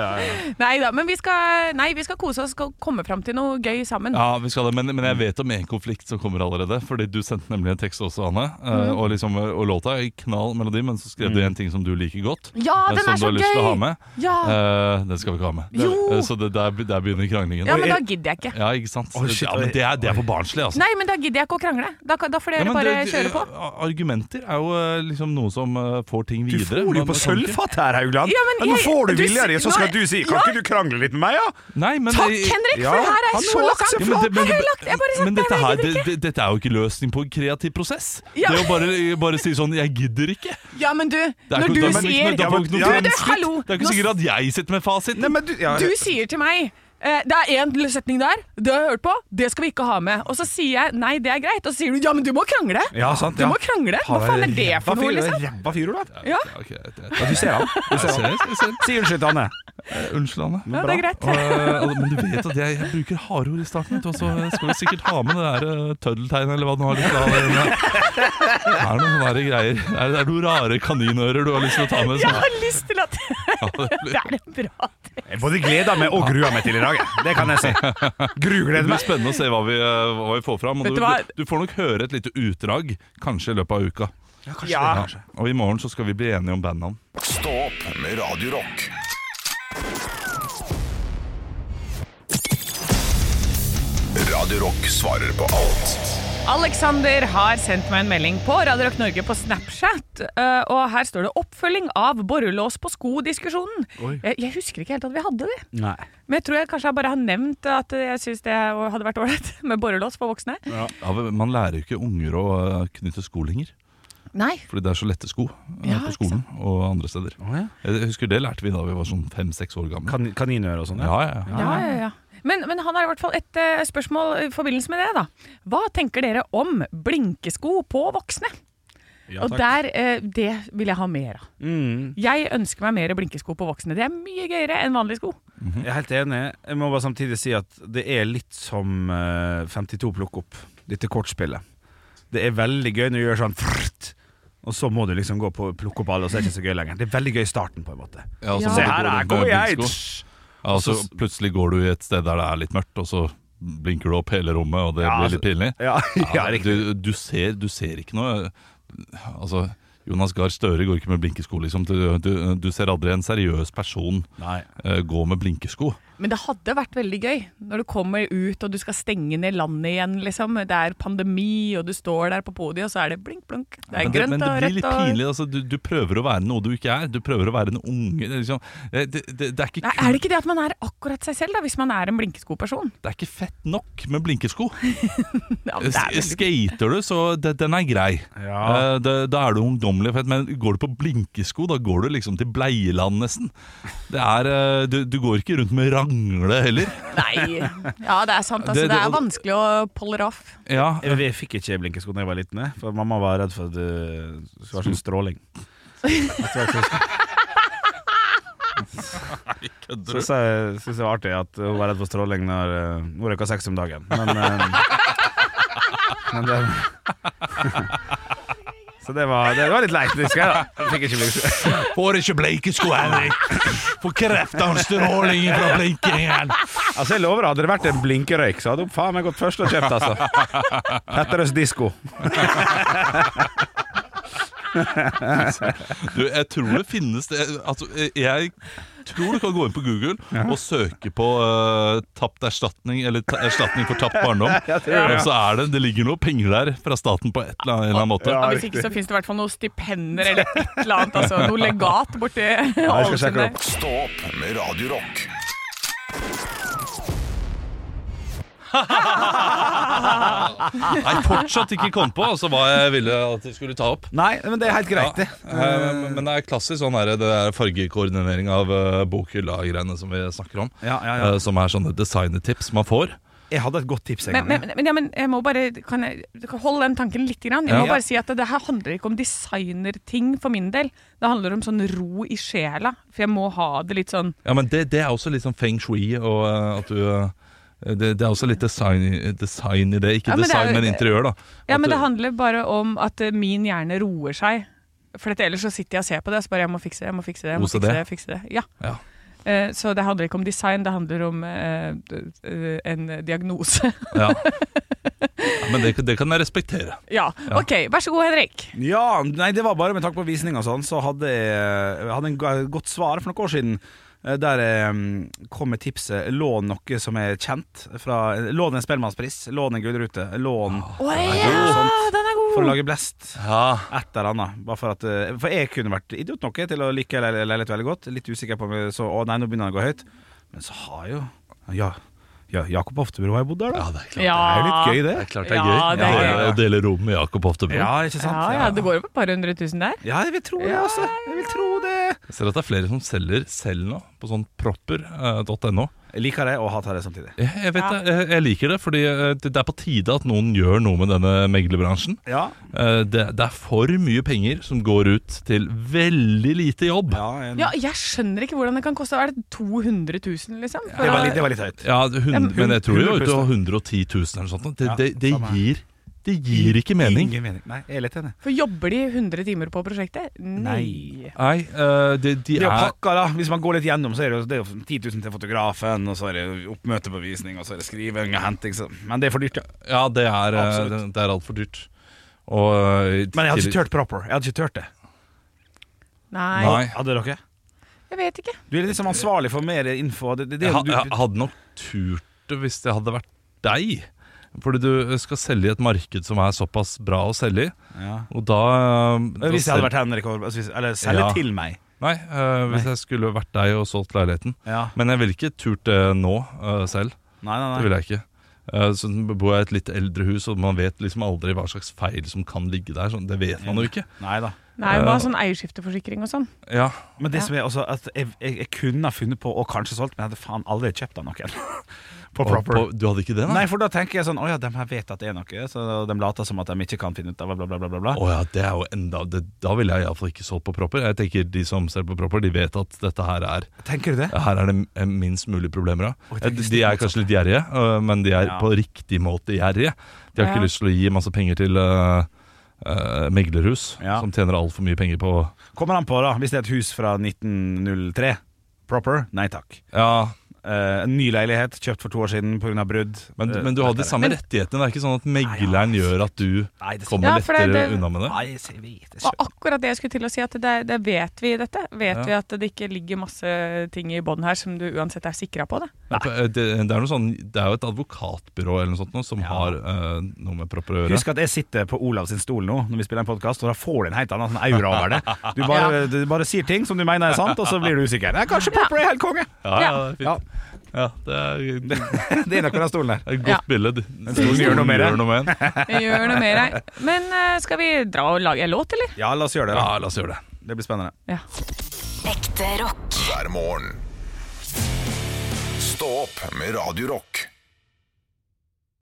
Speaker 2: Nei da, men vi skal, nei, vi skal kose oss og komme fram til noe gøy sammen.
Speaker 3: Ja, vi skal det, men, men jeg vet om en konflikt som kommer allerede. Fordi du sendte nemlig en tekst også, Anne.
Speaker 2: Mm.
Speaker 3: eh, Og, liksom, og låta er knall melodi, men så skrev du en ting som du liker godt.
Speaker 2: Ja,
Speaker 3: eh,
Speaker 2: den
Speaker 3: som
Speaker 2: er
Speaker 3: du
Speaker 2: så
Speaker 3: har lyst til å ha
Speaker 2: gøy!
Speaker 3: med.
Speaker 2: Ja,
Speaker 3: Eh, den skal vi ikke ha med.
Speaker 2: Jo!
Speaker 3: Eh, så det, der, der begynner kranglingen.
Speaker 2: ja men da gidder jeg ikke.
Speaker 3: Ja, ikke sant?
Speaker 4: Oi, shit,
Speaker 3: ja, men det er, det er for barnslig, altså.
Speaker 2: Nei, men da gidder jeg ikke å krangle. Da, kan- da får
Speaker 3: Ja,
Speaker 2: dere
Speaker 3: men
Speaker 2: bare
Speaker 3: det-
Speaker 2: kjøre på.
Speaker 3: a- Argumenter er jo eh, liksom noe som eh, får ting
Speaker 4: Du
Speaker 3: videre.
Speaker 4: får jo
Speaker 3: Man-
Speaker 4: på
Speaker 3: man kan ikke-
Speaker 4: sølvfat her, Haugland!
Speaker 2: Ja, men
Speaker 4: nå
Speaker 2: jeg-
Speaker 4: får du
Speaker 2: du
Speaker 4: viljen din,
Speaker 2: si-
Speaker 4: så skal
Speaker 2: nå-
Speaker 4: du si Kan
Speaker 2: Ja.
Speaker 4: ikke du krangle litt med meg, da?
Speaker 3: Nei, men
Speaker 2: Takk,
Speaker 3: det-
Speaker 2: Henrik,
Speaker 4: ja,
Speaker 2: for det her
Speaker 4: han
Speaker 2: er
Speaker 4: har
Speaker 2: så
Speaker 4: lagt seg
Speaker 2: langt.
Speaker 4: flat.
Speaker 2: det, men, jeg har lagt, jeg bare
Speaker 3: men dette, her,
Speaker 2: her,
Speaker 3: det, det, dette er jo ikke løsning på en kreativ prosess.
Speaker 2: Ja.
Speaker 3: Det er jo bare, bare si sånn 'jeg gidder ikke'.
Speaker 2: Ja, men du,
Speaker 3: Det er
Speaker 2: når
Speaker 3: ikke,
Speaker 2: du
Speaker 3: det er ikke-
Speaker 2: sier
Speaker 3: det er ikke noe
Speaker 4: Ja, men
Speaker 2: du,
Speaker 3: fremskritt.
Speaker 2: hallo,
Speaker 3: det er
Speaker 2: nå
Speaker 3: ikke sikkert at jeg sitter med fasiten.
Speaker 4: Nei, men du, ja,
Speaker 2: Du sier til meg eh, det er én setning der, det har jeg hørt på, det skal vi ikke ha med. Og så sier jeg nei, det er greit. Og så sier du ja, men du må krangle.
Speaker 4: ja, sant,
Speaker 2: Du
Speaker 4: ja.
Speaker 2: må krangle. Hva
Speaker 4: Faen,
Speaker 2: faen er det
Speaker 4: ræva
Speaker 2: for noe,
Speaker 4: fyr,
Speaker 2: liksom?
Speaker 4: Ræva fyr, Olav.
Speaker 2: Ja,
Speaker 3: Ja, ok, jeg- jeg-
Speaker 4: Ja, du ser han. Du ser han.
Speaker 3: jeg- jeg- jeg-
Speaker 4: Si unnskyld til Anne.
Speaker 3: jeg- Unnskyld, Anne.
Speaker 2: ja det er greit.
Speaker 3: Og, eh, og- men du vet at jeg, jeg bruker hardord i starten, vet du, og så skal vi sikkert ha med det der eh, tøddeltegnet eller hva du har lyst til å ha. med den der. Det er noen sånne der greier. Det er, det er noen rare kaninører du har lyst til å ta med.
Speaker 2: Jeg
Speaker 3: Sånn.
Speaker 2: har lyst til at Det er en bra ting.
Speaker 4: Jeg både gleder meg og gruer meg til i dag. jeg. Det kan jeg si.
Speaker 3: Det
Speaker 4: Grugleder
Speaker 3: blir
Speaker 4: meg.
Speaker 3: spennende å se hva vi, eh, hva vi får fram. Og
Speaker 2: Vet
Speaker 3: du,
Speaker 2: du hva?
Speaker 3: du får nok høre et lite utdrag, kanskje i løpet av uka.
Speaker 2: Ja.
Speaker 3: Ja. Og i morgen så skal vi bli enige om bandnavn.
Speaker 1: Stå opp med Radio Rock. Radio Rock svarer på alt
Speaker 2: Alexander har sendt meg en melding på Radio Rock Norge på Snapchat. eh, Og her står det 'oppfølging av borrelås på sko'-diskusjonen. Eh, Jeg, jeg husker ikke helt at vi hadde det.
Speaker 4: Nei.
Speaker 2: Men jeg tror jeg kanskje jeg bare har nevnt at jeg syns det hadde vært ålreit med borrelås for voksne.
Speaker 3: Ja, men man lærer jo ikke unger å eh, knytte sko lenger,
Speaker 2: Nei.
Speaker 3: fordi det er så lette sko eh,
Speaker 2: Ja,
Speaker 3: på
Speaker 2: ikke
Speaker 3: skolen og andre steder. Eh,
Speaker 4: Å, ja.
Speaker 3: Jeg husker det lærte vi da vi var sånn fem-seks år gamle.
Speaker 4: Kan, kaninører og sånn?
Speaker 3: Ja, ja, ja.
Speaker 2: Ja, ja, ja. Men, men han har i hvert fall et eh, spørsmål i forbindelse med det. da. Hva tenker dere om blinkesko på voksne?
Speaker 4: Ja, Mm.
Speaker 2: og
Speaker 4: takk.
Speaker 2: der, eh, det vil jeg ha mer av. Jeg ønsker meg mer blinkesko på voksne. Det er mye gøyere enn vanlige sko.
Speaker 4: Mm. Jeg er helt enig. Jeg må bare samtidig si at det er litt som eh, 52 plukk opp, dette kortspillet. Det er veldig gøy når du gjør sånn frrt, og så må du liksom gå på plukke opp alle, og så er det ikke så gøy lenger. Det er veldig gøy i starten, på en måte.
Speaker 3: Ja, og
Speaker 2: Ja.
Speaker 3: så må
Speaker 4: Se
Speaker 3: du gå
Speaker 4: her,
Speaker 3: rundt
Speaker 4: her
Speaker 3: med
Speaker 4: kommer jeg!
Speaker 3: blinkesko.
Speaker 4: Tsj.
Speaker 3: Ja, og så plutselig går du i et sted der det er litt mørkt, og så blinker du opp hele rommet, og det
Speaker 4: Ja, altså.
Speaker 3: blir litt pinlig.
Speaker 4: Ja, ja, riktig.
Speaker 3: du, du, ser, du ser ikke noe Altså, Jonas Gahr Støre går ikke med blinkesko, liksom. Du, du, du ser aldri en seriøs person
Speaker 4: Nei.
Speaker 3: eh, gå med blinkesko.
Speaker 2: Men det hadde vært veldig gøy når du kommer ut og du skal stenge ned landet igjen. liksom. Det er pandemi, og du står der på podiet, og så er det blink, blunk. Det er
Speaker 3: Men det,
Speaker 2: grønt
Speaker 3: men det
Speaker 2: og
Speaker 3: blir litt
Speaker 2: rødt og
Speaker 3: pinlig. Altså, du, du prøver å være noe du ikke er. Du prøver å være en unge. Det, er liksom, det, det, det, det, er ikke
Speaker 2: Nei, Er
Speaker 3: kult.
Speaker 2: det ikke det at man er akkurat seg selv, da, hvis man er en blinkeskoperson?
Speaker 3: det er ikke fett nok med blinkesko.
Speaker 2: Ja, men det er veldig-
Speaker 3: S- Skater du, så det, den er grei.
Speaker 4: Ja.
Speaker 3: Eh, Da, da er du ungdommelig fett, men går du på blinkesko, da går du liksom til Bleieland nesten. Det er, eh, du, du går ikke rundt med rangle heller.
Speaker 2: Nei. Ja, det er sant. Altså,
Speaker 3: Det-
Speaker 2: det,
Speaker 3: det-
Speaker 2: er vanskelig å polle det off.
Speaker 3: Ja,
Speaker 4: Jeg, jeg fikk ikke blinkesko da jeg var liten, jeg, for mamma var redd for at det skulle være sånn stråling. Så
Speaker 3: kødder du?
Speaker 4: sa jeg synes det var artig at hun var redd for stråling når eh, hun røyka seks om dagen. Men, eh, men det, Så det var, det var litt leit, husker jeg. da Jeg Fikk ikke blinkesko.
Speaker 3: Får ikke blinkesko, Henrik. Får kreft av stråling fra blinkingen.
Speaker 4: Altså, jeg lover, deg, hadde det vært en blinkerøyk, så hadde hun faen meg gått først og kjøpt, altså. Petterøes disko.
Speaker 3: Du, jeg tror det finnes det, altså, Jeg tror du kan gå inn på Google og søke på eh, tapt erstatning eller ta, erstatning for tapt barndom. Og så er det, det ligger noe penger der fra staten på et eller annet, en eller annen måte.
Speaker 2: Ja, hvis ikke så finnes det i hvert fall noen stipender eller et eller annet. Altså, noe legat borti
Speaker 4: jeg skal
Speaker 2: Ålesund
Speaker 4: sjekke
Speaker 2: der.
Speaker 4: opp.
Speaker 1: Stå opp med Radio Rock.
Speaker 3: Nei, fortsatt ikke kom på altså, hva jeg ville at jeg skulle ta opp.
Speaker 4: Nei, men det er helt greit, det.
Speaker 3: Eh, Men det er klassisk sånn her, det er fargekoordinering av eh, bokhylla-greiene som vi snakker om.
Speaker 4: Ja, ja, ja.
Speaker 3: eh, Som er sånne designertips man får.
Speaker 4: Jeg hadde et godt tips en
Speaker 2: Men,
Speaker 4: gang.
Speaker 2: men, men, ja, men jeg må bare kan jeg, du kan Hold den tanken litt. Grann. Jeg
Speaker 3: Ja.
Speaker 2: må bare si at det, det her handler ikke om designerting for min del. Det handler om sånn ro i sjela. For jeg må ha det litt sånn
Speaker 3: Ja, men det, det er også litt sånn feng shui og eh, at du eh, det, det er også litt design, i- design i det. Ikke
Speaker 2: Ja, men det er
Speaker 3: design,
Speaker 2: jo-
Speaker 3: men interiør, da.
Speaker 2: Ja,
Speaker 3: At
Speaker 2: men
Speaker 3: du-
Speaker 2: det handler bare om at eh, min hjerne roer seg. For dette, ellers så sitter jeg og ser på det, og så bare jeg må fikse det, jeg må fikse det. jeg må
Speaker 3: OCD.
Speaker 2: fikse det, jeg fikse det. Ja.
Speaker 3: Ja.
Speaker 2: Eh, Så det handler ikke om design, det handler om eh, d- eh, en diagnose.
Speaker 3: ja. ja, men det, det kan jeg respektere.
Speaker 2: ja. OK, vær så god, Henrik.
Speaker 4: Ja, nei, det var bare med tanke på visning og sånn, så hadde jeg, jeg hadde en ga- godt svar for noen år siden. eh, Der jeg mm, kom med tipset 'lån noe som er kjent'. Fra, lån en Spellemannspris, lån en Gullrute, lån
Speaker 2: Å
Speaker 4: god, sant.
Speaker 2: den er
Speaker 4: for å
Speaker 2: god!
Speaker 4: lage blest.
Speaker 3: Ja,
Speaker 4: Et eller annet. Bare for, at, eh, for jeg kunne vært idiot nok til å like le- leilighet veldig godt. Litt usikker på om jeg så, å nei, nå begynner den å gå høyt. Men så har jo ja, ja, Jakob Oftebro har jo bodd der, da.
Speaker 3: ja det er klart.
Speaker 2: Ja.
Speaker 4: Det er jo litt gøy,
Speaker 3: Det er
Speaker 4: det.
Speaker 3: klart det er
Speaker 2: Ja,
Speaker 3: gøy
Speaker 2: det er
Speaker 3: Ja,
Speaker 4: gøy.
Speaker 3: ja, å dele rom med Jakob Oftebro.
Speaker 4: Ja, ikke sant?
Speaker 2: Ja, ja, det går jo på et par hundre tusen der.
Speaker 4: ja, jeg vil tro det, altså. Jeg vil tro det.
Speaker 3: Jeg ser at det er flere som selger selv nå, på sånn propper.no.
Speaker 4: Jeg liker det og hater det samtidig.
Speaker 3: Jeg, jeg vet det, jeg, jeg liker det, fordi eh, det det er på tide at noen gjør noe med denne meglerbransjen.
Speaker 4: Ja,
Speaker 3: Eh, Det, det er for mye penger som går ut til veldig lite jobb.
Speaker 4: ja, en,
Speaker 2: Ja, jeg skjønner ikke hvordan det kan koste. Er det 200 000, liksom? For
Speaker 4: Det var
Speaker 2: å-
Speaker 4: litt, det var litt høyt.
Speaker 3: Ja, det- hun- men jeg tror jo
Speaker 4: 100%.
Speaker 3: du har 110 000 eller sånt. nå. Det,
Speaker 4: Ja,
Speaker 3: det, det,
Speaker 4: samme her.
Speaker 3: gir, det gir ikke mening.
Speaker 4: Ingen mening. Nei, jeg er litt enig.
Speaker 2: For jobber de 100 timer på prosjektet?
Speaker 4: Nei.
Speaker 3: Nei, eh, de, de
Speaker 4: Det er jo
Speaker 3: er
Speaker 4: pakka, da. Hvis man går litt gjennom, så er det jo, det er jo 10 000 til fotografen, og så er det jo oppmøte på visning, og så er det skriving og henting, så Men det er for dyrt, ja.
Speaker 3: Ja, det er, eh,
Speaker 4: Absolutt.
Speaker 3: det det er altfor dyrt. Og, eh,
Speaker 4: Men jeg hadde
Speaker 3: til-
Speaker 4: ikke tørt proper. Jeg hadde ikke tørt det.
Speaker 2: Nei.
Speaker 3: Nei.
Speaker 4: Hadde dere?
Speaker 2: Jeg vet ikke.
Speaker 4: Du er liksom ansvarlig for mer info. Det, det, det,
Speaker 3: Jeg,
Speaker 4: er jo
Speaker 3: ha-
Speaker 4: du,
Speaker 3: jeg hadde nok turt det hvis det hadde vært deg. Fordi du skal selge i et marked som er såpass bra å selge i.
Speaker 4: ja.
Speaker 3: Og da eh,
Speaker 4: Hvis
Speaker 3: da sel-
Speaker 4: jeg hadde vært Henrik Aarberg, altså hvis- Eller selge
Speaker 3: Ja.
Speaker 4: til meg.
Speaker 3: Nei, eh, hvis jeg skulle vært deg og solgt leiligheten.
Speaker 4: Ja.
Speaker 3: Men jeg ville ikke turt det nå eh, selv.
Speaker 4: Nei,
Speaker 3: Det
Speaker 4: nei, nei.
Speaker 3: ville jeg ikke. Eh, Så bor jeg i et litt eldre hus, og man vet liksom aldri hva slags feil som kan ligge der. Sånn, det vet man jo ikke.
Speaker 4: Nei da.
Speaker 2: Nei, man har sånn eierskifteforsikring og sånn.
Speaker 3: Ja,
Speaker 4: Men det
Speaker 2: Ja.
Speaker 4: som er også at jeg, jeg, jeg kunne ha funnet på og kanskje solgt, men jeg hadde faen aldri kjøpt av noen.
Speaker 8: på proper.
Speaker 3: Og på- Du hadde ikke det,
Speaker 4: Nei, for da tenker jeg sånn Å ja, de her vet at det er noe, så de later som at de ikke kan finne ut av bla, bla, bla. bla, bla.
Speaker 3: Å ja, det er jo enda det, Da ville jeg iallfall ikke solgt på propper. Jeg tenker De som selger på propper, de vet at dette her er
Speaker 4: Tenker du det?
Speaker 3: her er det m- eh, minst mulig problemer av.
Speaker 4: Oi, det er
Speaker 3: Eh,
Speaker 4: ikke
Speaker 3: De er
Speaker 4: stikk
Speaker 3: kanskje litt gjerrige, eh, men de er
Speaker 4: Ja.
Speaker 3: på riktig måte gjerrige. De har
Speaker 2: Ja.
Speaker 3: ikke lyst til å gi masse penger til eh, eh, meglerhus,
Speaker 4: Ja.
Speaker 3: som tjener altfor mye penger på
Speaker 4: Kommer han på, da, hvis det er et hus fra 1903 proper? Nei takk.
Speaker 3: Ja,
Speaker 4: Eh, en ny leilighet kjøpt for to år siden pga. brudd.
Speaker 3: men,
Speaker 4: Eh,
Speaker 3: men du har de
Speaker 4: dette
Speaker 3: samme rettighetene. Det er ikke sånn at megleren gjør at du
Speaker 4: Nei, det skal-
Speaker 3: kommer
Speaker 2: Ja, for det-
Speaker 3: lettere
Speaker 2: det-
Speaker 3: unna med
Speaker 4: er-
Speaker 3: det.
Speaker 4: Nei, jeg vet
Speaker 3: Ah,
Speaker 4: ikke.
Speaker 2: Og akkurat det jeg skulle til å si, at det, det vet vi dette. Vet vi at det ikke ligger masse ting i bånn her som du uansett er sikra på? det?
Speaker 3: Det, eh, det, er noe sånn, det er jo et advokatbyrå eller noe sånt nå, som har eh, noe med propper å gjøre.
Speaker 4: Husk at jeg sitter på Olavs sin stol nå når vi spiller en podkast, og da får du en helt annen sånn aura over det. Du bare, du bare sier ting som du mener er sant, og så blir du usikker. Nei, kanskje Popper er helt konge!
Speaker 3: Ja, ja, det er
Speaker 4: Ja.
Speaker 3: fint. Ja, det er
Speaker 4: Det er nok den stolen der.
Speaker 3: Det er et
Speaker 2: Ja.
Speaker 3: godt bilde.
Speaker 4: stolen gjør noe med det.
Speaker 3: med den.
Speaker 2: Vi Gjør noe med deg. Men eh, skal vi dra og lage en låt, eller?
Speaker 4: Ja, la oss gjøre det.
Speaker 3: Ja,
Speaker 4: da
Speaker 3: la oss gjøre det.
Speaker 4: Det blir spennende.
Speaker 2: Ja.
Speaker 5: Ekte rock.
Speaker 1: hver morgen. Stå opp med Radio Rock.